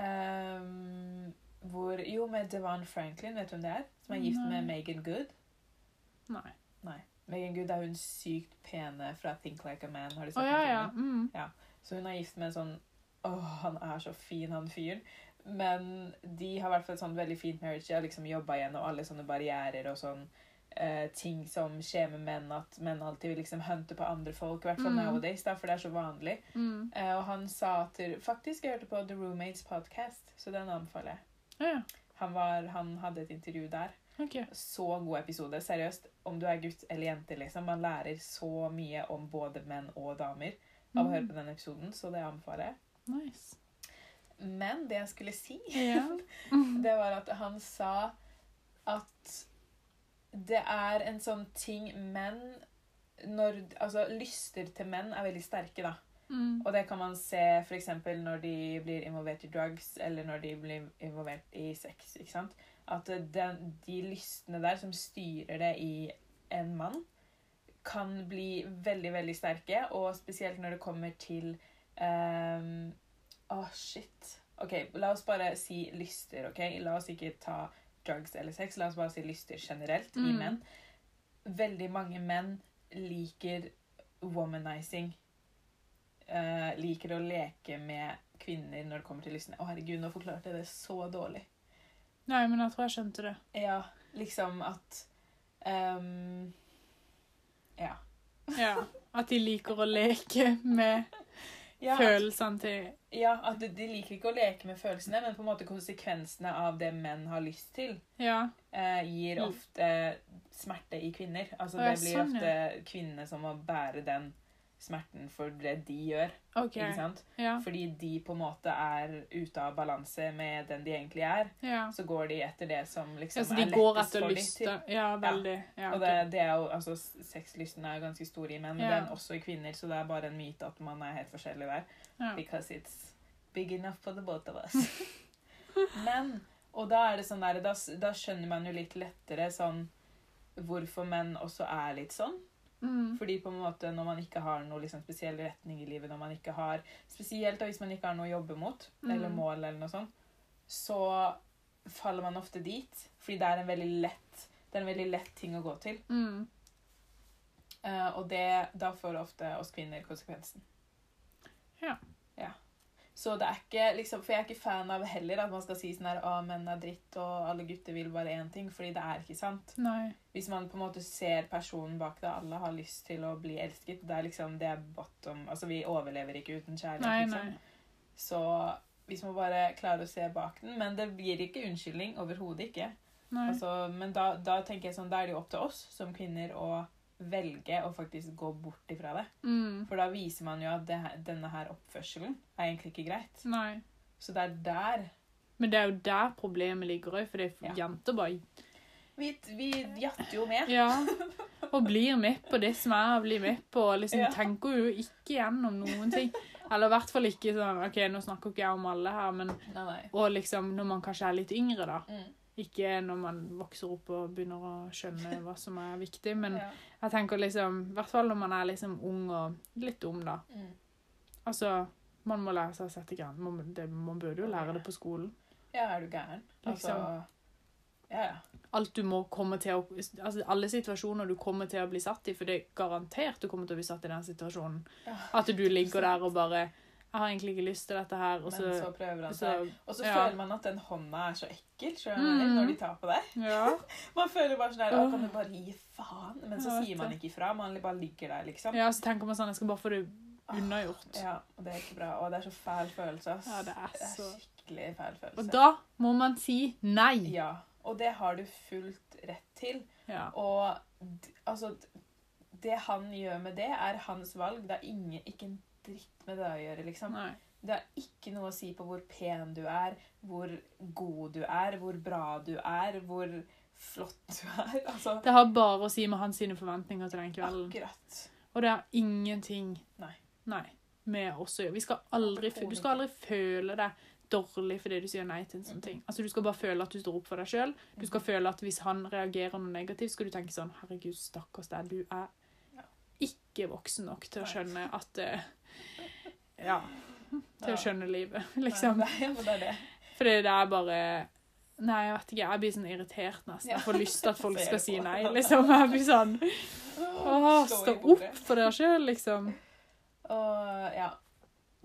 Speaker 1: Ehm, hvor, jo, med Devon Franklin, vet du hvem det er? Som er gift med
Speaker 2: Nei.
Speaker 1: Megan Good.
Speaker 2: Nei.
Speaker 1: Megan Good er hun sykt pene fra Think Like a Man. Har du sett
Speaker 2: Å
Speaker 1: den
Speaker 2: ja, ja.
Speaker 1: filmen?
Speaker 2: Mm.
Speaker 1: Så hun er gift med en sånn Åh, han er så fin, han fyren. Men de har i hvert fall et sånn veldig fint marriage. De har liksom jobba gjennom alle sånne barrierer og sånn eh, ting som skjer med menn, at menn alltid vil liksom hunte på andre folk. I hvert fall
Speaker 2: Mm.
Speaker 1: nowadays, da, for det er så vanlig.
Speaker 2: Mm.
Speaker 1: Eh, og han sa til Faktisk, jeg hørte på The Roommates podcast, så den anbefaler jeg.
Speaker 2: Ja, ja.
Speaker 1: Han, var, han hadde et intervju der.
Speaker 2: Ok.
Speaker 1: Så god episode. Seriøst, om du er gutt eller jente, liksom. Man lærer så mye om både menn og damer av å høre på den episoden, så det anbefaler jeg.
Speaker 2: Nice.
Speaker 1: Men det jeg skulle si,
Speaker 2: Ja.
Speaker 1: det var at han sa at det er en sånn ting menn når, Altså, lyster til menn er veldig sterke, da.
Speaker 2: Mm.
Speaker 1: Og det kan man se f.eks. når de blir involvert i drugs, eller når de blir involvert i sex. ikke sant? At eh, den, de lystene der som styrer det i en mann, kan bli veldig, veldig sterke. Og spesielt når det kommer til ehm, Å, shit. OK, la oss bare si lyster, OK? La oss ikke ta drugs eller sex. La oss bare si lyster generelt i
Speaker 2: Mm.
Speaker 1: menn. Veldig mange menn liker womanizing. Eh, eh, liker å leke med kvinner når det kommer til lystne. Å, herregud, nå forklarte jeg det så dårlig.
Speaker 2: Nei, men jeg tror jeg skjønte det.
Speaker 1: Ja, liksom at ehm, Ja.
Speaker 2: Ja. At de liker å leke med
Speaker 1: Ja, at,
Speaker 2: følelsene til
Speaker 1: ja, at de- de liker ikke å leke med følelsene, men på en måte konsekvensene av det menn har lyst til.
Speaker 2: Ja.
Speaker 1: eh, gir
Speaker 2: Mm.
Speaker 1: ofte smerte i kvinner. Altså,
Speaker 2: Å, ja,
Speaker 1: det blir
Speaker 2: sånn,
Speaker 1: ofte kvinnene som må bære den smerten for det de gjør.
Speaker 2: OK.
Speaker 1: ikke sant?
Speaker 2: Ja.
Speaker 1: Fordi de på en måte er ute av balanse med den de egentlig er.
Speaker 2: ja.
Speaker 1: Så går de etter det som liksom
Speaker 2: Ja, så de
Speaker 1: er
Speaker 2: går
Speaker 1: lettest
Speaker 2: etter
Speaker 1: for
Speaker 2: lyster.
Speaker 1: dem.
Speaker 2: Ja, veldig. Ja,
Speaker 1: Og det,
Speaker 2: ok.
Speaker 1: det er jo, altså, Sexlysten er jo ganske stor i menn, men
Speaker 2: Ja.
Speaker 1: den er også i kvinner, så det er bare en myte at man er helt forskjellig der.
Speaker 2: ja.
Speaker 1: Because it's big enough for the both of us. Men, og da er det sånn der, da, da skjønner man jo litt lettere sånn hvorfor menn også er litt sånn.
Speaker 2: Mm.
Speaker 1: Fordi på en måte når man ikke har noe liksom, spesiell retning i livet, når man ikke har, spesielt da hvis man ikke har noe å jobbe mot, eller
Speaker 2: Mm.
Speaker 1: mål eller noe sånt, så faller man ofte dit. Fordi det er en veldig lett, det er en veldig lett ting å gå til.
Speaker 2: Mm.
Speaker 1: Eh, og det, da får ofte oss kvinner konsekvensen.
Speaker 2: Ja.
Speaker 1: Ja. Så det er ikke liksom, For jeg er ikke fan av heller at man skal si sånn her Å, menn er dritt, og alle gutter vil bare én ting. Fordi det er ikke sant.
Speaker 2: Nei.
Speaker 1: Hvis man på en måte ser personen bak det, alle har lyst til å bli elsket. Det er liksom det er bottom Altså, vi overlever ikke uten kjærlighet,
Speaker 2: Nei, nei.
Speaker 1: liksom. Så hvis man bare klarer å se bak den Men det gir ikke unnskyldning. Overhodet ikke.
Speaker 2: nei.
Speaker 1: Altså, men da, da tenker jeg sånn, da er det jo opp til oss som kvinner å velge å faktisk gå bort ifra det.
Speaker 2: Mm.
Speaker 1: For da viser man jo at det, her- denne her oppførselen er egentlig ikke greit.
Speaker 2: Nei.
Speaker 1: Så det er der
Speaker 2: Men det er jo der problemet ligger òg, for det er
Speaker 1: Ja.
Speaker 2: jenter bare
Speaker 1: Vi, vi jatter jo med.
Speaker 2: Ja. Og blir med på det som er, og blir med på og liksom,
Speaker 1: Ja.
Speaker 2: Tenker jo ikke gjennom noen ting. Eller i hvert fall ikke sånn OK, nå snakker ikke jeg om alle her, men
Speaker 1: Nei, nei.
Speaker 2: Og liksom når man kanskje er litt yngre, da.
Speaker 1: Mm,
Speaker 2: Ikke når man vokser opp og begynner å skjønne hva som er viktig, men
Speaker 1: ja.
Speaker 2: jeg tenker liksom I hvert fall når man er liksom ung og litt dum, da.
Speaker 1: Mm.
Speaker 2: Altså, man må lære seg å sette grenser. Man, det- man burde jo lære det på skolen.
Speaker 1: ja, er du gæren? Altså
Speaker 2: Liksom.
Speaker 1: Ja, ja.
Speaker 2: Alt du må komme til å Altså alle situasjoner du kommer til å bli satt i, for det er garantert du kommer til å bli satt i den situasjonen.
Speaker 1: Ja.
Speaker 2: At du ligger der og bare 'Jeg har egentlig ikke lyst til dette her', og
Speaker 1: Men så,
Speaker 2: så,
Speaker 1: prøver han seg.
Speaker 2: så
Speaker 1: Og så
Speaker 2: ja.
Speaker 1: føler man at den hånda er så ekkel skjønner du,
Speaker 2: Mm.
Speaker 1: når de tar på deg.
Speaker 2: Ja.
Speaker 1: Man føler bare sånn her Å,
Speaker 2: Åh.
Speaker 1: kan du bare gi faen? Men så
Speaker 2: Jeg vet
Speaker 1: sier man
Speaker 2: det.
Speaker 1: ikke ifra. Man bare ligger der, liksom.
Speaker 2: ja, så tenker man sånn 'Jeg skal bare få det unnagjort'.
Speaker 1: Ah, Ja, og det er ikke bra. Og det er så fæl følelse, ass.
Speaker 2: Ja, det er så
Speaker 1: skikkelig fæl følelse.
Speaker 2: Og da må man si nei.
Speaker 1: Ja, og det har du fullt rett til.
Speaker 2: Ja.
Speaker 1: Og d- altså d- Det han gjør med det, er hans valg. Det er ingen, ikke en dritt med det å gjøre, liksom.
Speaker 2: Nei.
Speaker 1: Det har ikke noe å si på hvor pen du er, hvor god du er, hvor bra du er, hvor flott du er. Altså
Speaker 2: Det har bare å si med hans sine forventninger til den kvelden.
Speaker 1: akkurat.
Speaker 2: Og det har ingenting
Speaker 1: Nei.
Speaker 2: nei med oss å gjøre. Vi skal aldri, fø- du skal aldri føle deg dårlig fordi du sier nei til en
Speaker 1: Mm.
Speaker 2: sånn ting. Altså, Du skal bare føle at du står opp for deg sjøl. Du skal føle at hvis han reagerer noe negativt, skal du tenke sånn Herregud, stakkars deg. Du er
Speaker 1: Ja.
Speaker 2: ikke voksen nok til å
Speaker 1: Nei.
Speaker 2: skjønne at eh, Ja. Til
Speaker 1: Ja.
Speaker 2: å skjønne livet,
Speaker 1: Nei,
Speaker 2: liksom.
Speaker 1: Nei, men det er det.
Speaker 2: Fordi det er bare Nei, jeg vet ikke. Jeg blir sånn irritert nesten.
Speaker 1: Ja.
Speaker 2: Jeg får lyst til at folk
Speaker 1: Ser
Speaker 2: skal
Speaker 1: det
Speaker 2: si
Speaker 1: på.
Speaker 2: nei, liksom. Jeg blir sånn Åh,
Speaker 1: Slå i
Speaker 2: stå
Speaker 1: bordet.
Speaker 2: opp for dere sjøl, liksom.
Speaker 1: Og ja.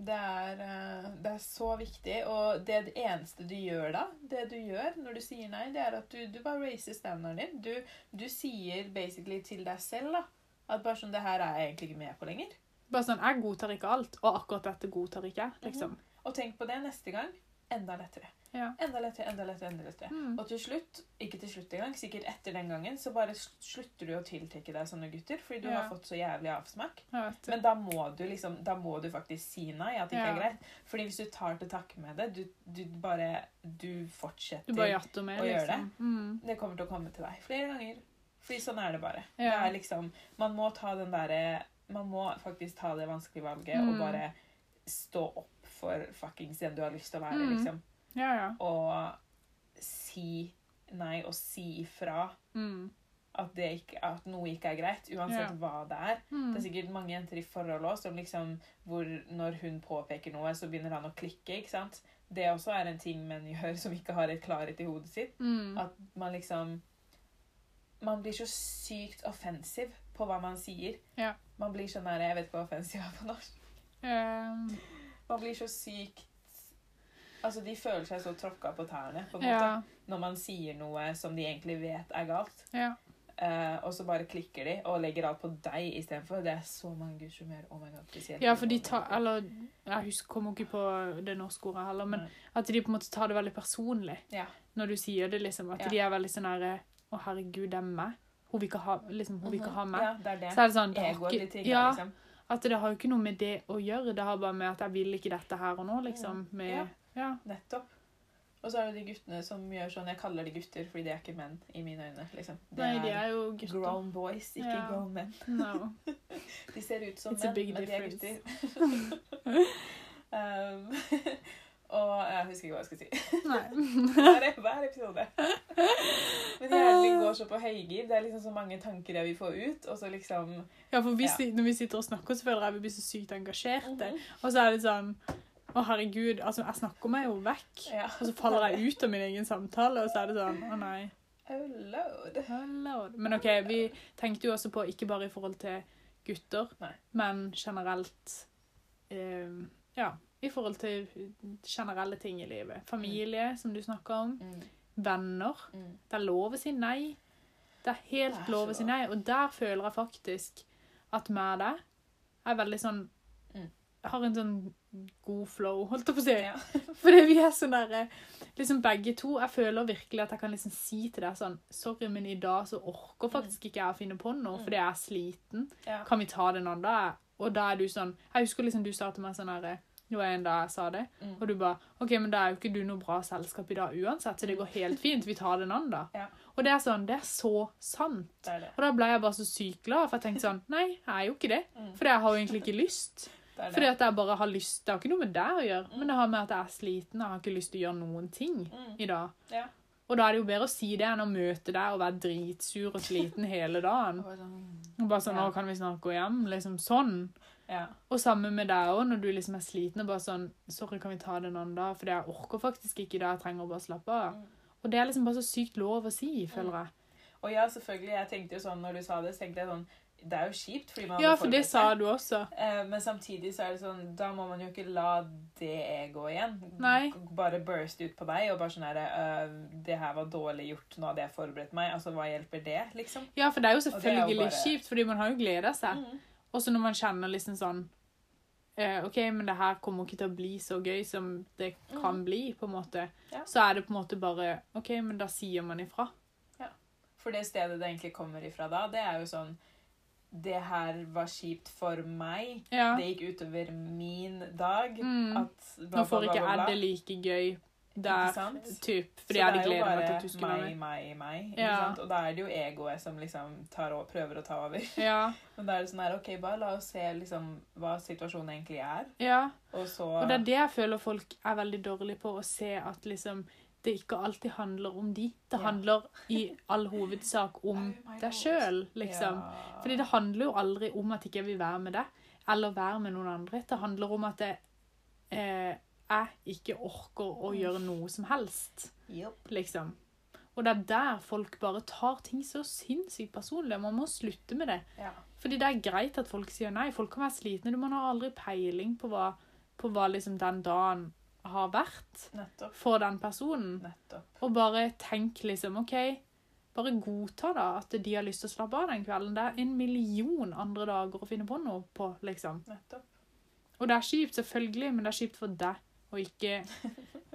Speaker 1: Det er, eh, det er så viktig. Og det, det eneste du gjør da, det du gjør når du sier nei, det er at du, du bare raiser standarden din. Du, du sier basically til deg selv da, at bare sånn, det her er jeg egentlig ikke med på lenger.
Speaker 2: Bare sånn, Jeg godtar ikke alt, og akkurat dette godtar ikke jeg. liksom.
Speaker 1: Og tenk på det neste gang. Enda lettere.
Speaker 2: Ja.
Speaker 1: Enda lettere, enda lettere, enda lettere.
Speaker 2: Mm.
Speaker 1: Og til slutt, ikke til slutt engang, sikkert etter den gangen, så bare sl- slutter du å tiltrekke deg sånne gutter, fordi du
Speaker 2: Ja.
Speaker 1: har fått så jævlig avsmak.
Speaker 2: Jeg vet det.
Speaker 1: Men da må du liksom, da må du faktisk si nei, at det ikke
Speaker 2: Ja.
Speaker 1: er greit. Fordi hvis du tar til takke med det, du, du bare, du fortsetter.
Speaker 2: Du bare jatter med,
Speaker 1: å gjøre
Speaker 2: liksom. Mm.
Speaker 1: Det kommer til å komme til deg flere ganger. Fordi sånn er det bare. Det
Speaker 2: Ja.
Speaker 1: er liksom, man må ta den derre, man må faktisk ta det vanskelige valget,
Speaker 2: Mm.
Speaker 1: og bare stå opp for fuckings den du har lyst til å være,
Speaker 2: Mm.
Speaker 1: liksom.
Speaker 2: Ja, ja.
Speaker 1: Og si nei, og si ifra
Speaker 2: Mm.
Speaker 1: at, det ikke, at noe ikke er greit, uansett
Speaker 2: Ja.
Speaker 1: hva det er. Det
Speaker 2: Mm.
Speaker 1: er sikkert mange jenter i forhold også, som liksom, hvor når hun påpeker noe, så begynner han å klikke. ikke sant? Det også er en ting menn gjør som ikke har et klarhet i hodet sitt.
Speaker 2: Mm.
Speaker 1: At man liksom Man blir så sykt offensiv på hva man sier.
Speaker 2: Ja.
Speaker 1: Man blir sånn der Jeg vet ikke hva offensiv er på norsk.
Speaker 2: Um,
Speaker 1: Man blir så sykt Altså, de føler seg så tråkka på tærne på en måte,
Speaker 2: ja,
Speaker 1: når man sier noe som de egentlig vet er galt.
Speaker 2: ja.
Speaker 1: Eh, og så bare klikker de og legger alt på deg istedenfor. Det er så mange guds som gjør Oh my god, spesielt
Speaker 2: ja,
Speaker 1: i
Speaker 2: for de
Speaker 1: Norge.
Speaker 2: tar Eller jeg husker, kommer ikke på det norske ordet heller, men
Speaker 1: Nei.
Speaker 2: at de på en måte tar det veldig personlig
Speaker 1: Mm. Ja.
Speaker 2: når du sier det, liksom. At
Speaker 1: Ja.
Speaker 2: de er veldig sånn herre Å, herregud, det er meg. Hun vil ikke ha, liksom, hun vil ikke ha meg.
Speaker 1: Mhm. Ja, det er det.
Speaker 2: Så er det sånn det har
Speaker 1: Egoet blir
Speaker 2: ikke,
Speaker 1: trigga,
Speaker 2: ja,
Speaker 1: liksom.
Speaker 2: At det har jo ikke noe med det å gjøre. Det har bare med at jeg vil ikke dette her og nå, liksom.
Speaker 1: Ja.
Speaker 2: Med, ja.
Speaker 1: Nettopp. Og så er det de guttene som gjør sånn Jeg kaller de gutter fordi de er ikke menn i mine øyne. liksom. Det
Speaker 2: Nei, de er jo gutter.
Speaker 1: grown boys, ikke
Speaker 2: Ja.
Speaker 1: grown men.
Speaker 2: No.
Speaker 1: De ser ut som
Speaker 2: It's a
Speaker 1: menn,
Speaker 2: big
Speaker 1: men de er
Speaker 2: difference.
Speaker 1: gutter. um, og jeg husker ikke hva jeg skulle si.
Speaker 2: Nei.
Speaker 1: Hver, hver episode. Men hjernen min går så på høygir. Det er liksom så mange tanker jeg vil få ut. Og så liksom
Speaker 2: Ja, for vi,
Speaker 1: Ja.
Speaker 2: si- når vi sitter og snakker, så føler jeg vi blir så sykt engasjerte.
Speaker 1: Mhm.
Speaker 2: Og så er det sånn Å, herregud. Altså, jeg snakker meg jo vekk.
Speaker 1: Ja.
Speaker 2: Og så faller jeg ut av min egen samtale, og så er det sånn Å, nei.
Speaker 1: Oh lord.
Speaker 2: Hello. Men OK, vi tenkte jo også på ikke bare i forhold til gutter,
Speaker 1: Nei.
Speaker 2: men generelt eh, Ja. I forhold til generelle ting i livet. Familie, som du snakker om.
Speaker 1: Mm,
Speaker 2: Venner.
Speaker 1: mm.
Speaker 2: Det er lov å si nei. Det er helt
Speaker 1: Det er
Speaker 2: lov å
Speaker 1: så
Speaker 2: si nei. Og der føler jeg faktisk at med det er veldig sånn
Speaker 1: Mm.
Speaker 2: jeg Har en sånn god flow, holdt jeg på å si.
Speaker 1: Ja.
Speaker 2: Fordi vi er sånn derre Liksom begge to. Jeg føler virkelig at jeg kan liksom si til deg sånn Sorry, men i dag så orker faktisk ikke jeg å finne på noe
Speaker 1: Mm.
Speaker 2: fordi jeg er sliten.
Speaker 1: Ja.
Speaker 2: Kan vi ta det en annen dag? Og da er du sånn Jeg husker liksom du sa til meg sånn herre Det var en dag jeg sa det,
Speaker 1: Mm.
Speaker 2: og du bare OK, men da er jo ikke du noe bra selskap i dag uansett, så det går helt fint. Vi tar det en annen dag.
Speaker 1: Mm. Ja.
Speaker 2: Og det er sånn, det er så sant.
Speaker 1: Det er det.
Speaker 2: Og da ble jeg bare så sykt glad, for jeg tenkte sånn Nei, jeg er jo ikke det.
Speaker 1: Mm.
Speaker 2: For jeg har jo egentlig ikke lyst.
Speaker 1: det, er det.
Speaker 2: Fordi at jeg bare har lyst Det har ikke noe med deg å gjøre, men det har med at jeg er sliten. Jeg har ikke lyst til å gjøre noen ting
Speaker 1: Mm.
Speaker 2: i dag.
Speaker 1: Ja.
Speaker 2: Og da er det jo bedre å si det enn å møte deg og være dritsur og sliten hele dagen.
Speaker 1: Og sånn,
Speaker 2: Og bare sånn
Speaker 1: Ja.
Speaker 2: Nå kan vi snart gå hjem. Liksom sånn.
Speaker 1: Ja.
Speaker 2: Og samme med deg òg, når du liksom er sliten og bare sånn Sorry, kan vi ta det en annen dag? Fordi jeg orker faktisk ikke i dag. Jeg trenger bare å slappe av.
Speaker 1: Mm.
Speaker 2: Og det er liksom bare så sykt lov å si, føler jeg.
Speaker 1: Og ja, selvfølgelig, jeg tenkte jo sånn når du sa det, så tenkte jeg sånn Det er jo kjipt, fordi man
Speaker 2: Ja,
Speaker 1: hadde
Speaker 2: for det
Speaker 1: forberedt
Speaker 2: sa
Speaker 1: seg.
Speaker 2: du også.
Speaker 1: Eh, Men samtidig så er det sånn Da må man jo ikke la det egoet igjen
Speaker 2: Nei.
Speaker 1: G- bare burst ut på deg og bare sånn her eh, Det her var dårlig gjort, nå hadde jeg forberedt meg. Altså, hva hjelper det, liksom?
Speaker 2: Ja, for det er jo
Speaker 1: det er jo
Speaker 2: selvfølgelig
Speaker 1: bare-
Speaker 2: kjipt, fordi man har jo gleda seg.
Speaker 1: Mm.
Speaker 2: Og så når man kjenner liksom sånn eh, OK, men det her kommer ikke til å bli så gøy som det kan bli, på en måte.
Speaker 1: Mm. Ja.
Speaker 2: Så er det på en måte bare OK, men da sier man ifra.
Speaker 1: For det stedet det egentlig kommer ifra da, det er jo sånn Det her var kjipt for meg.
Speaker 2: Ja.
Speaker 1: Det gikk utover min dag.
Speaker 2: Mm.
Speaker 1: At bla,
Speaker 2: Nå får ikke jeg det like gøy
Speaker 1: Ikke
Speaker 2: der,
Speaker 1: sant?
Speaker 2: typ,
Speaker 1: Så
Speaker 2: fordi jeg hadde
Speaker 1: det er jo
Speaker 2: gleda meg
Speaker 1: bare
Speaker 2: til at du skulle være
Speaker 1: meg,
Speaker 2: med.
Speaker 1: meg, meg. ikke
Speaker 2: Ja.
Speaker 1: sant? Og da er det jo egoet som liksom tar og, prøver å ta over.
Speaker 2: Ja,
Speaker 1: Men da er det sånn her, ok, bare la oss se liksom hva situasjonen egentlig er.
Speaker 2: ja.
Speaker 1: Og så
Speaker 2: Og det er det jeg føler folk er veldig dårlige på, å se at liksom det ikke alltid handler om de. Det
Speaker 1: Ja.
Speaker 2: handler i all hovedsak om
Speaker 1: Oh my
Speaker 2: deg
Speaker 1: God.
Speaker 2: sjøl, liksom.
Speaker 1: Ja.
Speaker 2: Fordi det handler jo aldri om at ikke jeg vil være med deg, eller være med noen andre. Det handler om at jeg, eh, jeg ikke orker å gjøre noe som helst,
Speaker 1: Jopp.
Speaker 2: liksom. Og det er der folk bare tar ting så sinnssykt personlig. Man må slutte med det.
Speaker 1: Ja.
Speaker 2: Fordi det er greit at folk sier nei. Folk kan være slitne. Man har aldri peiling på hva, på hva liksom den dagen har vært
Speaker 1: Nettopp.
Speaker 2: for den personen.
Speaker 1: Nettopp.
Speaker 2: Og bare tenk liksom, ok, bare godta da at de har lyst til å slappe av den kvelden. Det er en million andre dager å finne på noe på, liksom.
Speaker 1: Nettopp.
Speaker 2: Og det er kjipt, selvfølgelig, men det er kjipt for deg, og ikke,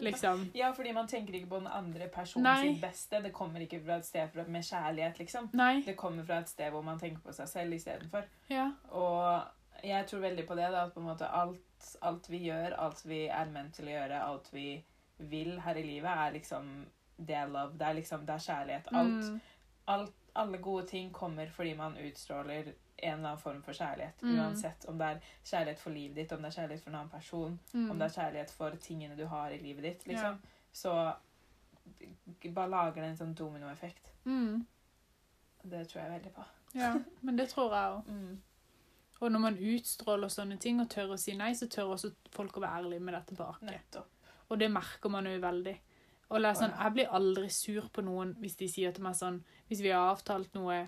Speaker 2: liksom.
Speaker 1: Ja, fordi man tenker ikke på den andre personen
Speaker 2: Nei.
Speaker 1: sin beste. Det kommer ikke fra et sted fra- med kjærlighet, liksom.
Speaker 2: Nei,
Speaker 1: Det kommer fra et sted hvor man tenker på seg selv istedenfor.
Speaker 2: ja,
Speaker 1: Og jeg tror veldig på det, da, at på en måte alt, alt vi gjør, alt vi er ment til å gjøre, alt vi vil her i livet, er liksom det er love, det er liksom det er kjærlighet. Alt,
Speaker 2: Mm.
Speaker 1: alt, alle gode ting kommer fordi man utstråler en eller annen form for kjærlighet.
Speaker 2: Mm.
Speaker 1: Uansett om det er kjærlighet for livet ditt, om det er kjærlighet for en annen person,
Speaker 2: Mm.
Speaker 1: om det er kjærlighet for tingene du har i livet ditt, liksom. Så bare lager det en sånn dominoeffekt.
Speaker 2: Mm.
Speaker 1: Det tror jeg veldig på.
Speaker 2: Ja, men det tror jeg også.
Speaker 1: Mm.
Speaker 2: Og når man utstråler sånne ting og tør å si nei, så tør også folk å være ærlige med det tilbake.
Speaker 1: Nettopp.
Speaker 2: Og det merker man jo veldig. Og det er sånn, Jeg blir aldri sur på noen hvis de sier til meg sånn Hvis vi har avtalt noe,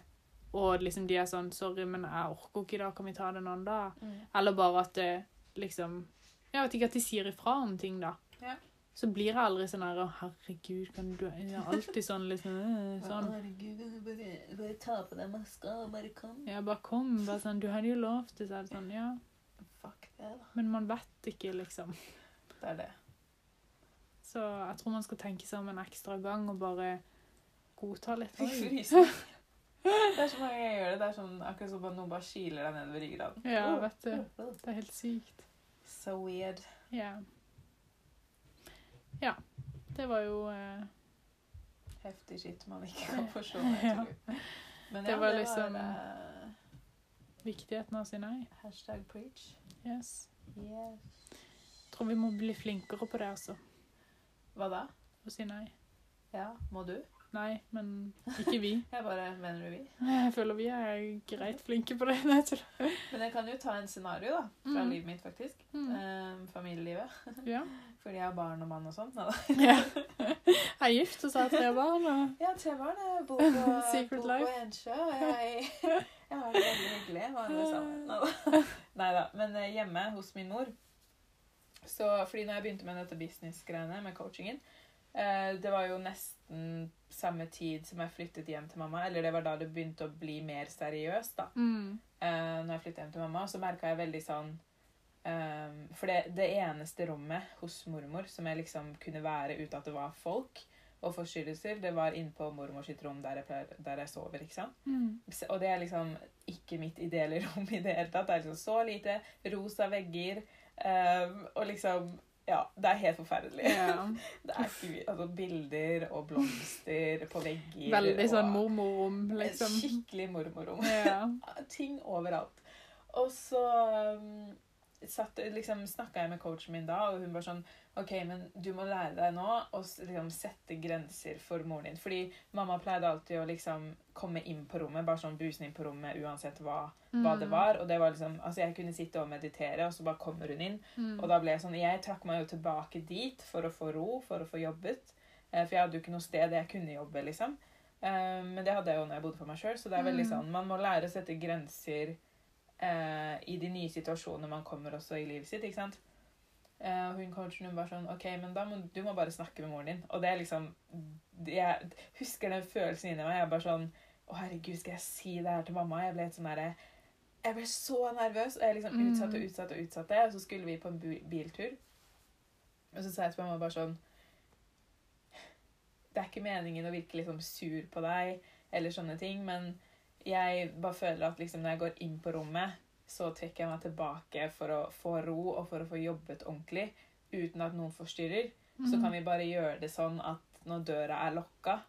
Speaker 2: og liksom de er sånn 'Sorry, men jeg orker ikke i dag. Kan vi ta det en annen dag?'
Speaker 1: Mm.
Speaker 2: Eller bare at eh, liksom Jeg vet ikke at de sier ifra om ting, da.
Speaker 1: Ja.
Speaker 2: Så blir jeg aldri sånn her Å, herregud, kan du Jeg er alltid sånn liksom øh, Sånn.
Speaker 1: Herregud, bare, bare ta på deg maska og bare kom.
Speaker 2: Ja, bare kom. Bare sånn Du hadde jo lov til så er det sånn, ja.
Speaker 1: Fuck det, da.
Speaker 2: Men man vet ikke, liksom.
Speaker 1: Det er det.
Speaker 2: Så jeg tror man skal tenke seg om en ekstra gang og bare godta litt.
Speaker 1: Fikk
Speaker 2: Oi.
Speaker 1: frysninger. Det er så mange ganger jeg gjør det. Det er sånn, akkurat som at noen bare kiler deg nedover ryggraden.
Speaker 2: Ja,
Speaker 1: Oh,
Speaker 2: vet du.
Speaker 1: oh, oh.
Speaker 2: Det er helt sykt.
Speaker 1: So weird.
Speaker 2: Ja. Ja. Det var jo eh,
Speaker 1: Heftig shit man ikke kan forstå. jeg
Speaker 2: Ja.
Speaker 1: tror. Men
Speaker 2: Det
Speaker 1: ja,
Speaker 2: var
Speaker 1: det
Speaker 2: liksom-
Speaker 1: var eh,
Speaker 2: viktigheten av å si nei.
Speaker 1: hashtag preach.
Speaker 2: Yes.
Speaker 1: Yes.
Speaker 2: Tror vi må bli flinkere på det, altså.
Speaker 1: Hva da?
Speaker 2: Å si nei.
Speaker 1: Ja, må du?
Speaker 2: Nei, men ikke vi.
Speaker 1: Jeg bare mener du vi.
Speaker 2: Jeg føler vi er greit flinke på det. Nei, tull.
Speaker 1: Men jeg kan jo ta en scenario da, fra
Speaker 2: Mhm.
Speaker 1: livet mitt, faktisk.
Speaker 2: Mm.
Speaker 1: Ehm, familielivet.
Speaker 2: Ja.
Speaker 1: Fordi jeg har barn og mann og sånn, sånt. Nei da.
Speaker 2: ja. Jeg er gift og så har jeg tre barn. Og...
Speaker 1: Jeg har tre barn. Jeg bor på,
Speaker 2: Secret
Speaker 1: bor
Speaker 2: life.
Speaker 1: på Ensjø. Og jeg, jeg har det veldig hyggelig med alle sammen. Neida. Neida. Men eh, hjemme hos min mor så, Fordi når jeg begynte med dette business-greiene med coachingen eh, Det var jo nesten samme tid som jeg flyttet hjem til mamma. Eller det var da det begynte å bli mer seriøst, da.
Speaker 2: Mm.
Speaker 1: Eh, når jeg flyttet hjem til mamma, så merka jeg veldig sånn ehm, For det, det eneste rommet hos mormor som jeg liksom kunne være uten at det var folk og forstyrrelser, det var innpå mormor sitt rom der jeg, pleier, der jeg sover. ikke sant?
Speaker 2: Mm.
Speaker 1: S- Og det er liksom ikke mitt ideelle rom i det hele tatt. Det er liksom så lite, rosa vegger ehm, og liksom Ja, det er helt forferdelig.
Speaker 2: Ja.
Speaker 1: Det er ikke, altså, bilder og blomster på vegger.
Speaker 2: Veldig sånn
Speaker 1: og-
Speaker 2: mormorom, liksom.
Speaker 1: Skikkelig mormorrom
Speaker 2: Ja.
Speaker 1: ting overalt. Og så um, satt, liksom, snakka jeg med coachen min da, og hun var sånn OK, men du må lære deg nå å s- liksom, sette grenser for moren din. Fordi mamma pleide alltid å liksom komme inn på rommet, bare sånn busen inn på rommet uansett hva,
Speaker 2: Mm.
Speaker 1: hva det var. Og det var liksom Altså, jeg kunne sitte og meditere, og så bare kommer hun inn.
Speaker 2: Mm.
Speaker 1: Og da ble jeg sånn Jeg trakk meg jo tilbake dit for å få ro, for å få jobbet. Eh, For jeg hadde jo ikke noe sted jeg kunne jobbe, liksom. Eh, Men det hadde jeg jo når jeg bodde for meg sjøl, så det er veldig
Speaker 2: Mm.
Speaker 1: sånn Man må lære å sette grenser eh, i de nye situasjonene man kommer også i livet sitt, ikke sant. Eh, og hun coachen hun var sånn OK, men da må du må bare snakke med moren din. Og det er liksom Jeg husker den følelsen inni meg. Jeg er bare sånn Å, herregud, skal jeg si det her til mamma? Jeg ble helt sånn derre jeg ble så nervøs, og jeg liksom
Speaker 2: Mm.
Speaker 1: utsatte og utsatte og utsatte. Og så skulle vi på en bu- biltur. Og så sa jeg til mamma bare sånn Det er ikke meningen å virke liksom sur på deg, eller sånne ting, men jeg bare føler at liksom når jeg går inn på rommet, så trekker jeg meg tilbake for å få ro og for å få jobbet ordentlig uten at noen forstyrrer.
Speaker 2: Mhm.
Speaker 1: Så kan vi bare gjøre det sånn at når døra er lokka,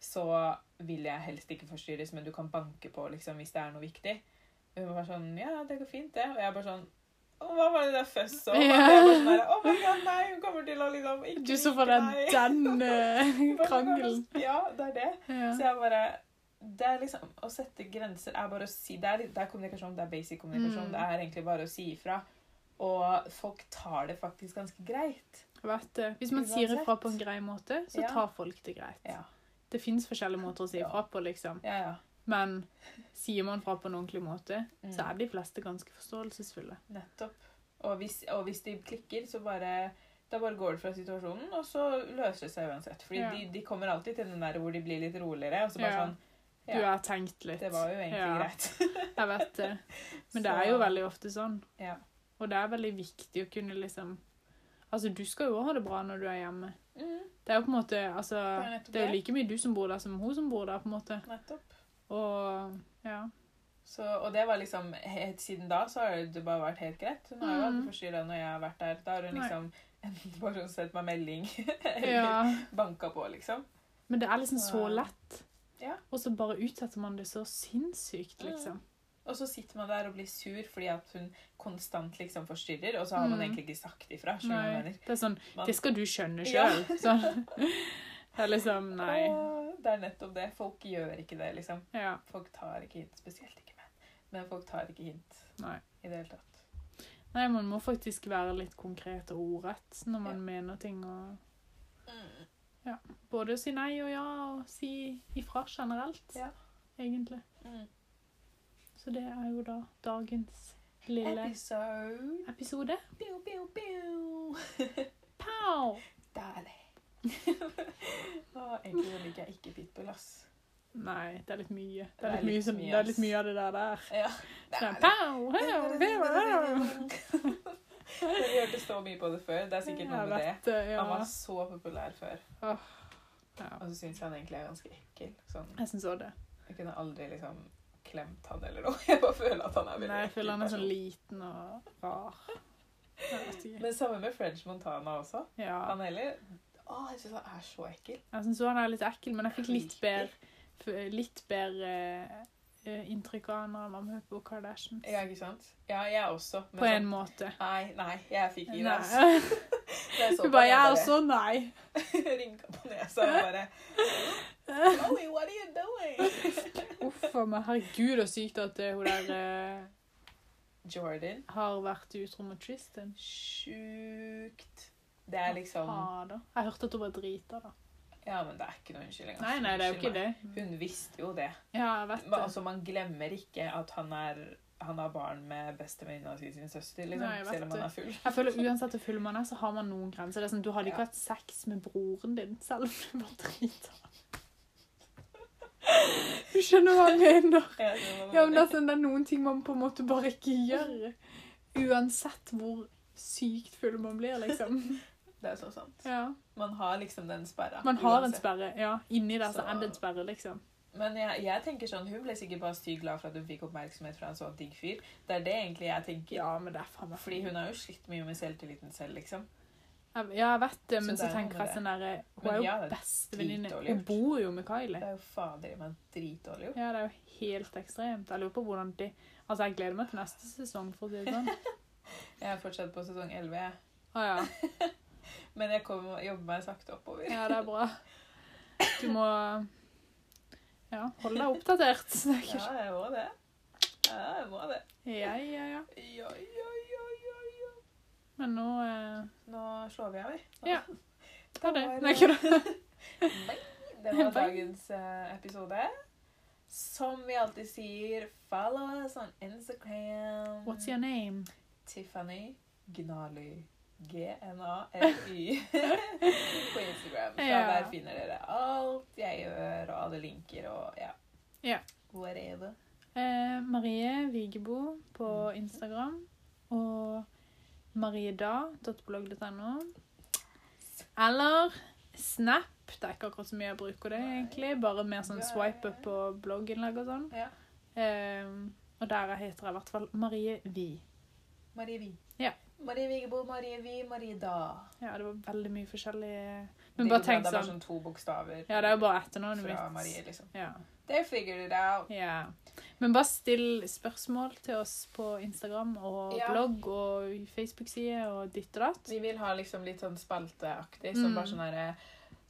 Speaker 1: så vil jeg helst ikke forstyrres, men du kan banke på liksom, hvis det er noe viktig. Og hun var sånn Ja, det går fint, det. Og jeg bare sånn «Å, Hva var det der føss om?
Speaker 2: Ja.
Speaker 1: Jeg bare sånn der, «Å my god, nei, hun kommer til å liksom ikke
Speaker 2: Du så
Speaker 1: like
Speaker 2: for
Speaker 1: meg».
Speaker 2: deg den eh,
Speaker 1: Hun bare sånn,
Speaker 2: krangelen.
Speaker 1: Ja, det er det. Så
Speaker 2: Ja.
Speaker 1: jeg bare det er liksom, Å sette grenser er bare å si Det er, det er kommunikasjon, det er basic kommunikasjon.
Speaker 2: Mm.
Speaker 1: Det er egentlig bare å si ifra. Og folk tar det faktisk ganske greit.
Speaker 2: Vet du, Hvis man sier
Speaker 1: Uansett.
Speaker 2: ifra på en grei måte, så
Speaker 1: Ja.
Speaker 2: tar folk det greit.
Speaker 1: Ja.
Speaker 2: Det fins forskjellige måter å si
Speaker 1: Ja.
Speaker 2: ifra på, liksom.
Speaker 1: Ja, ja.
Speaker 2: Men sier man fra på en ordentlig måte,
Speaker 1: Mm.
Speaker 2: så er de fleste ganske forståelsesfulle.
Speaker 1: Nettopp. Og hvis, og hvis de klikker, så bare da bare går det fra situasjonen, og så løser det seg uansett. Fordi
Speaker 2: Ja.
Speaker 1: de, de kommer alltid til den der hvor de blir litt roligere, og så bare
Speaker 2: Ja.
Speaker 1: sånn
Speaker 2: Du
Speaker 1: Ja,
Speaker 2: har tenkt litt.
Speaker 1: det var jo egentlig
Speaker 2: Ja.
Speaker 1: greit.
Speaker 2: Jeg vet det. Men det
Speaker 1: Så-
Speaker 2: er jo veldig ofte sånn.
Speaker 1: ja.
Speaker 2: Og det er veldig viktig å kunne liksom Altså, du skal jo òg ha det bra når du er hjemme.
Speaker 1: Mm,
Speaker 2: Det er jo på en måte Altså,
Speaker 1: er nettopp
Speaker 2: det er jo
Speaker 1: det.
Speaker 2: like mye du som bor der, som hun som bor der, på en måte.
Speaker 1: nettopp.
Speaker 2: Og ja.
Speaker 1: Så, og det var liksom helt Siden da så har det bare vært helt greit. Hun har jo aldri
Speaker 2: Mhm.
Speaker 1: forstyrra når jeg har vært der. Da har hun
Speaker 2: Nei.
Speaker 1: liksom enten bare sånn sendt meg melding eller
Speaker 2: ja.
Speaker 1: banka på, liksom.
Speaker 2: Men det er liksom
Speaker 1: Så- eh,
Speaker 2: så lett.
Speaker 1: Ja.
Speaker 2: Og så bare utsetter man det så sinnssykt,
Speaker 1: Mm.
Speaker 2: liksom.
Speaker 1: Og så sitter man der og blir sur fordi at hun konstant liksom forstyrrer, og så har man
Speaker 2: Mm.
Speaker 1: egentlig ikke sagt ifra. skjønner du hva jeg
Speaker 2: Nei,
Speaker 1: mener?
Speaker 2: det er sånn
Speaker 1: Man-
Speaker 2: Det skal du skjønne
Speaker 1: Ja.
Speaker 2: sjøl. Sånn. Det er liksom Nei.
Speaker 1: Åh, Det er nettopp det. Folk gjør ikke det, liksom.
Speaker 2: Ja.
Speaker 1: Folk tar ikke hint. Spesielt ikke menn. Men folk tar ikke hint
Speaker 2: Nei.
Speaker 1: i det hele tatt.
Speaker 2: Nei, man må faktisk være litt konkret og ordrett når man
Speaker 1: Ja.
Speaker 2: mener ting og
Speaker 1: Mm.
Speaker 2: Både å si nei og ja, og si ifra generelt,
Speaker 1: Ja.
Speaker 2: egentlig. Så det er jo da dagens lille
Speaker 1: episode.
Speaker 2: episode.
Speaker 1: Pew, pew, pew.
Speaker 2: Pow!
Speaker 1: Deilig. Å, egentlig liker jeg ikke pitbull, ass.
Speaker 2: Nei, det er litt mye. Det er litt mye, som, det er
Speaker 1: ass.
Speaker 2: litt mye av det der. der.
Speaker 1: Ja.
Speaker 2: Det er sånn,
Speaker 1: Deilig.
Speaker 2: pow, pow, pow, pow.
Speaker 1: Vi hørte så mye på det før. Det er sikkert noe med det.
Speaker 2: Jeg vet det,
Speaker 1: Han var
Speaker 2: Ja.
Speaker 1: så populær før,
Speaker 2: Ja.
Speaker 1: og så syns han egentlig er ganske ekkel. Sånn,
Speaker 2: Jeg syns òg det.
Speaker 1: jeg kunne aldri liksom klemt han eller noe. Jeg bare føler at han er veldig
Speaker 2: Nei, jeg føler han er
Speaker 1: person.
Speaker 2: sånn liten og rar. Jeg vet ikke.
Speaker 1: Men samme med French Montana også.
Speaker 2: Ja.
Speaker 1: Han heller Å, jeg syns han er så ekkel.
Speaker 2: Jeg syns òg han er litt ekkel, men jeg fikk litt bedre, f- litt bedre eh, inntrykk av han når han var med på Kardashians.
Speaker 1: Ja, ikke sant? Ja, jeg også. men
Speaker 2: På en
Speaker 1: sånn-
Speaker 2: måte.
Speaker 1: Nei, nei, jeg fikk i det. altså.
Speaker 2: Nei.
Speaker 1: Jeg så
Speaker 2: Du
Speaker 1: på
Speaker 2: bare
Speaker 1: han,
Speaker 2: Jeg også? Nei.
Speaker 1: Rynka på nesa og bare Chloe, what are you doing?
Speaker 2: Uff a meg. Herregud, så sykt at eh, hun der eh,
Speaker 1: Jordan.
Speaker 2: har vært utro mot Tristan.
Speaker 1: Sjukt. Det er liksom
Speaker 2: Fader. Jeg hørte at hun var drita, da.
Speaker 1: Ja, men det er ikke noen unnskyldning. altså.
Speaker 2: Nei, nei, det er jo
Speaker 1: Unnskyld
Speaker 2: ikke
Speaker 1: meg.
Speaker 2: det.
Speaker 1: Hun visste jo det.
Speaker 2: Ja, jeg vet
Speaker 1: Men
Speaker 2: det.
Speaker 1: altså, man glemmer ikke at han er han har barn med bestevenninna si sin søster, liksom,
Speaker 2: Nei, jeg vet
Speaker 1: selv om han
Speaker 2: det.
Speaker 1: er full.
Speaker 2: Jeg føler Uansett hvor full man er, så har man noen grenser. Det er sånn, Du hadde ikke
Speaker 1: Ja.
Speaker 2: hatt sex med broren din selv om du var drita. Du skjønner hva jeg mener?
Speaker 1: Ja, det var
Speaker 2: Ja, men det
Speaker 1: det.
Speaker 2: er, sånn, det er noen ting man på en måte bare ikke gjør. Uansett hvor sykt full man blir, liksom.
Speaker 1: Det er så sant.
Speaker 2: Ja.
Speaker 1: Man har liksom den sperra.
Speaker 2: Man har en
Speaker 1: uansett.
Speaker 2: sperre. ja. Inni der så
Speaker 1: Så-
Speaker 2: er det en sperre, liksom.
Speaker 1: Men jeg, jeg tenker sånn, hun ble sikkert bare stygt glad for at hun fikk oppmerksomhet fra en så digg fyr. Det er det egentlig jeg tenker.
Speaker 2: Ja, men det er faen meg
Speaker 1: Fordi hun har jo slitt mye med selvtilliten selv, liksom.
Speaker 2: Jeg- Ja, jeg vet det,
Speaker 1: Så
Speaker 2: men så,
Speaker 1: det er noe
Speaker 2: tenker jeg
Speaker 1: med
Speaker 2: sånn derre Hun
Speaker 1: Men
Speaker 2: er jo
Speaker 1: ja, det er
Speaker 2: bestevenninne.
Speaker 1: dritdårlig
Speaker 2: Hun
Speaker 1: gjort.
Speaker 2: bor jo med
Speaker 1: Det
Speaker 2: Kylie.
Speaker 1: er jo fader i meg dritdårlig gjort.
Speaker 2: Ja, det er jo helt ekstremt. Jeg lurer på hvordan de Altså, jeg gleder meg til neste sesong, for å si det sånn.
Speaker 1: Jeg er fortsatt på sesong 11, jeg.
Speaker 2: Å ja.
Speaker 1: Men jeg kommer og jobber meg sakte oppover.
Speaker 2: Ja, det er bra. Du må Ja, holde deg oppdatert. Det
Speaker 1: Ja,
Speaker 2: er ikke-
Speaker 1: jeg må det. Ja, jeg må det.
Speaker 2: Ja, ja, ja.
Speaker 1: Ja, ja, ja, ja, ja.
Speaker 2: Men nå eh,
Speaker 1: Nå slår vi av, vi. Nå-
Speaker 2: Ja. Ta det.
Speaker 1: Da var
Speaker 2: Nei, ikke det.
Speaker 1: Det var
Speaker 2: Bye.
Speaker 1: dagens eh, episode. Som vi alltid sier, follow us on Instagram.
Speaker 2: What's your name?
Speaker 1: Tiffany Gnaly. G-n-a-l-y. på Instagram. Så
Speaker 2: Ja.
Speaker 1: der finner dere alt jeg gjør, og alle linker og ja.
Speaker 2: Ja.
Speaker 1: Whatever.
Speaker 2: Eh, Marie Vigebo
Speaker 1: Mm.
Speaker 2: på Instagram. Og marieda.blogg.no. Eller Snap. Det er ikke akkurat så mye jeg bruker det, egentlig. Bare mer sånn swipe up på blogginnlegg og sånn.
Speaker 1: Ja.
Speaker 2: Eh, og der heter jeg i hvert fall Marie Vi.
Speaker 1: Marie Vi.
Speaker 2: Ja.
Speaker 1: Marie Vigebo, Marie Vi, Marie Da.
Speaker 2: Ja, det var veldig mye forskjellig
Speaker 1: Det er
Speaker 2: Men
Speaker 1: jo
Speaker 2: bare
Speaker 1: bra,
Speaker 2: tenk
Speaker 1: Det er bare
Speaker 2: sånn
Speaker 1: sånn to bokstaver
Speaker 2: Ja, det er jo bare etternavnet
Speaker 1: fra
Speaker 2: mitt.
Speaker 1: Marie, liksom.
Speaker 2: Ja.
Speaker 1: They figured it out.
Speaker 2: ja. Men bare still spørsmål til oss på Instagram og
Speaker 1: Ja.
Speaker 2: blogg og Facebook-side og ditt og datt.
Speaker 1: Vi vil ha liksom litt sånn spalteaktig, som
Speaker 2: Mm.
Speaker 1: bare sånn herre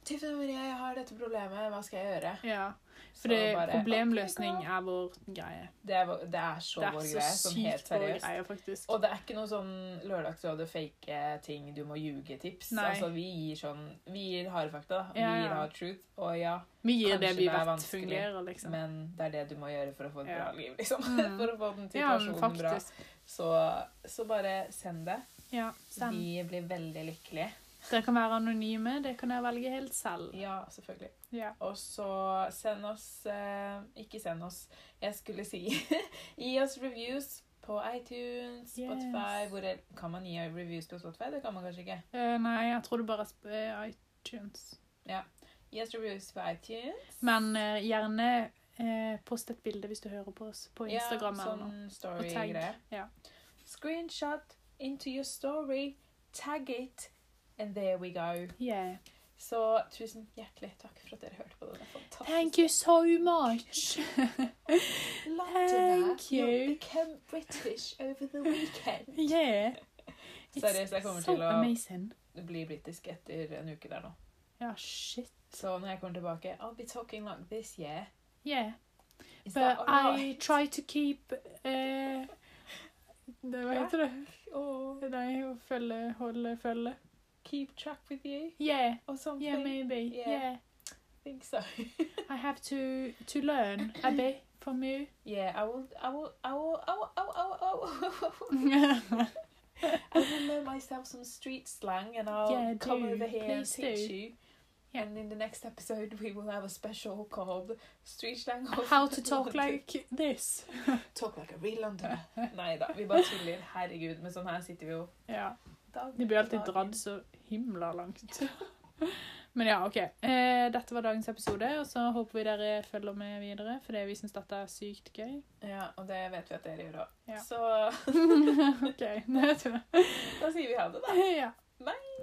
Speaker 1: Tiffany Marie, jeg har dette problemet, hva skal jeg gjøre?
Speaker 2: Ja,
Speaker 1: Så
Speaker 2: for det,
Speaker 1: bare,
Speaker 2: problemløsning
Speaker 1: «Ok,
Speaker 2: er vår greie.
Speaker 1: Det er, vår- det er så
Speaker 2: Det er
Speaker 1: vår
Speaker 2: så
Speaker 1: greie. Sånn helt
Speaker 2: sykt vår
Speaker 1: seriøst.
Speaker 2: greie, faktisk.
Speaker 1: Og det er ikke noe sånn lørdagsrådet, fake ting, du må ljuge-tips.
Speaker 2: Nei.
Speaker 1: Altså, vi gir sånn Vi gir harde fakta, da. Vi
Speaker 2: Ja, ja.
Speaker 1: gir hard truth. Og ja,
Speaker 2: Vi gir
Speaker 1: kanskje
Speaker 2: det vi
Speaker 1: det er
Speaker 2: vet
Speaker 1: vanskelig,
Speaker 2: fungerer, liksom.
Speaker 1: men det er det du må gjøre for å få et bra
Speaker 2: Ja.
Speaker 1: liv, liksom.
Speaker 2: Mm.
Speaker 1: For å få den
Speaker 2: Ja, men
Speaker 1: situasjonen bra.
Speaker 2: faktisk.
Speaker 1: Så, så bare send det.
Speaker 2: Ja, send.
Speaker 1: Vi blir veldig lykkelige.
Speaker 2: Dere kan være anonyme, det kan dere velge helt selv.
Speaker 1: Ja, selvfølgelig.
Speaker 2: Ja.
Speaker 1: Og så send oss eh, Ikke send oss, jeg skulle si Gi oss reviews på iTunes, Spotify
Speaker 2: Yes.
Speaker 1: hvor, el- Kan man gi reviews på Spotify? Det kan man kanskje ikke.
Speaker 2: Eh, nei, jeg tror det bare er sp- eh, iTunes.
Speaker 1: Gi oss reviews på iTunes.
Speaker 2: Men eh, gjerne eh, post et bilde hvis du hører på oss på Instagram
Speaker 1: ja,
Speaker 2: eller noe.
Speaker 1: sånn
Speaker 2: Og tagg.
Speaker 1: story-greie.
Speaker 2: Ja.
Speaker 1: Screenshot into your story, tag it, and there we go.
Speaker 2: Yeah.
Speaker 1: Så tusen hjertelig takk for at dere hørte på denne
Speaker 2: Thank
Speaker 1: fantastiske
Speaker 2: you so much.
Speaker 1: Thank
Speaker 2: Thank you.
Speaker 1: become British over the weekend.
Speaker 2: yeah. It's
Speaker 1: Seriøst, jeg kommer
Speaker 2: so
Speaker 1: til å
Speaker 2: amazing.
Speaker 1: bli britisk etter en uke der nå.
Speaker 2: Ja, shit.
Speaker 1: Så når jeg kommer tilbake I'll be talking like this, yeah.
Speaker 2: Yeah.
Speaker 1: Is that
Speaker 2: But I
Speaker 1: alright?
Speaker 2: try to keep eh, det, Hva heter det?
Speaker 1: Or
Speaker 2: Nei, å følge, holde, følge.
Speaker 1: keep track with you
Speaker 2: Yeah.
Speaker 1: or something.
Speaker 2: Yeah, maybe.
Speaker 1: Yeah.
Speaker 2: Yeah.
Speaker 1: I think so.
Speaker 2: I have to, to learn a bit from you.
Speaker 1: Yeah, I will, I will, I will, I will, I will, I will, I will, I will learn myself some street slang and I'll
Speaker 2: Yeah,
Speaker 1: come
Speaker 2: do.
Speaker 1: over here and
Speaker 2: Please
Speaker 1: teach
Speaker 2: do.
Speaker 1: you.
Speaker 2: Yeah.
Speaker 1: And in the next episode, we will have a special called Street Slang of
Speaker 2: How to talk
Speaker 1: London.
Speaker 2: like this.
Speaker 1: Talk like a real Londoner. Nei da, vi bare tuller. Herregud, men sånn her sitter vi jo
Speaker 2: Ja.
Speaker 1: dag
Speaker 2: De blir alltid
Speaker 1: etter dag.
Speaker 2: dratt så himla langt. Men ja, OK. Eh, dette var dagens episode, og så håper vi dere følger med videre, fordi vi syns dette er sykt gøy.
Speaker 1: Ja, og det vet vi at dere gjør òg.
Speaker 2: Ja.
Speaker 1: Så
Speaker 2: OK. Det vet vi.
Speaker 1: da sier vi ha det, da.
Speaker 2: Ja.
Speaker 1: Bye.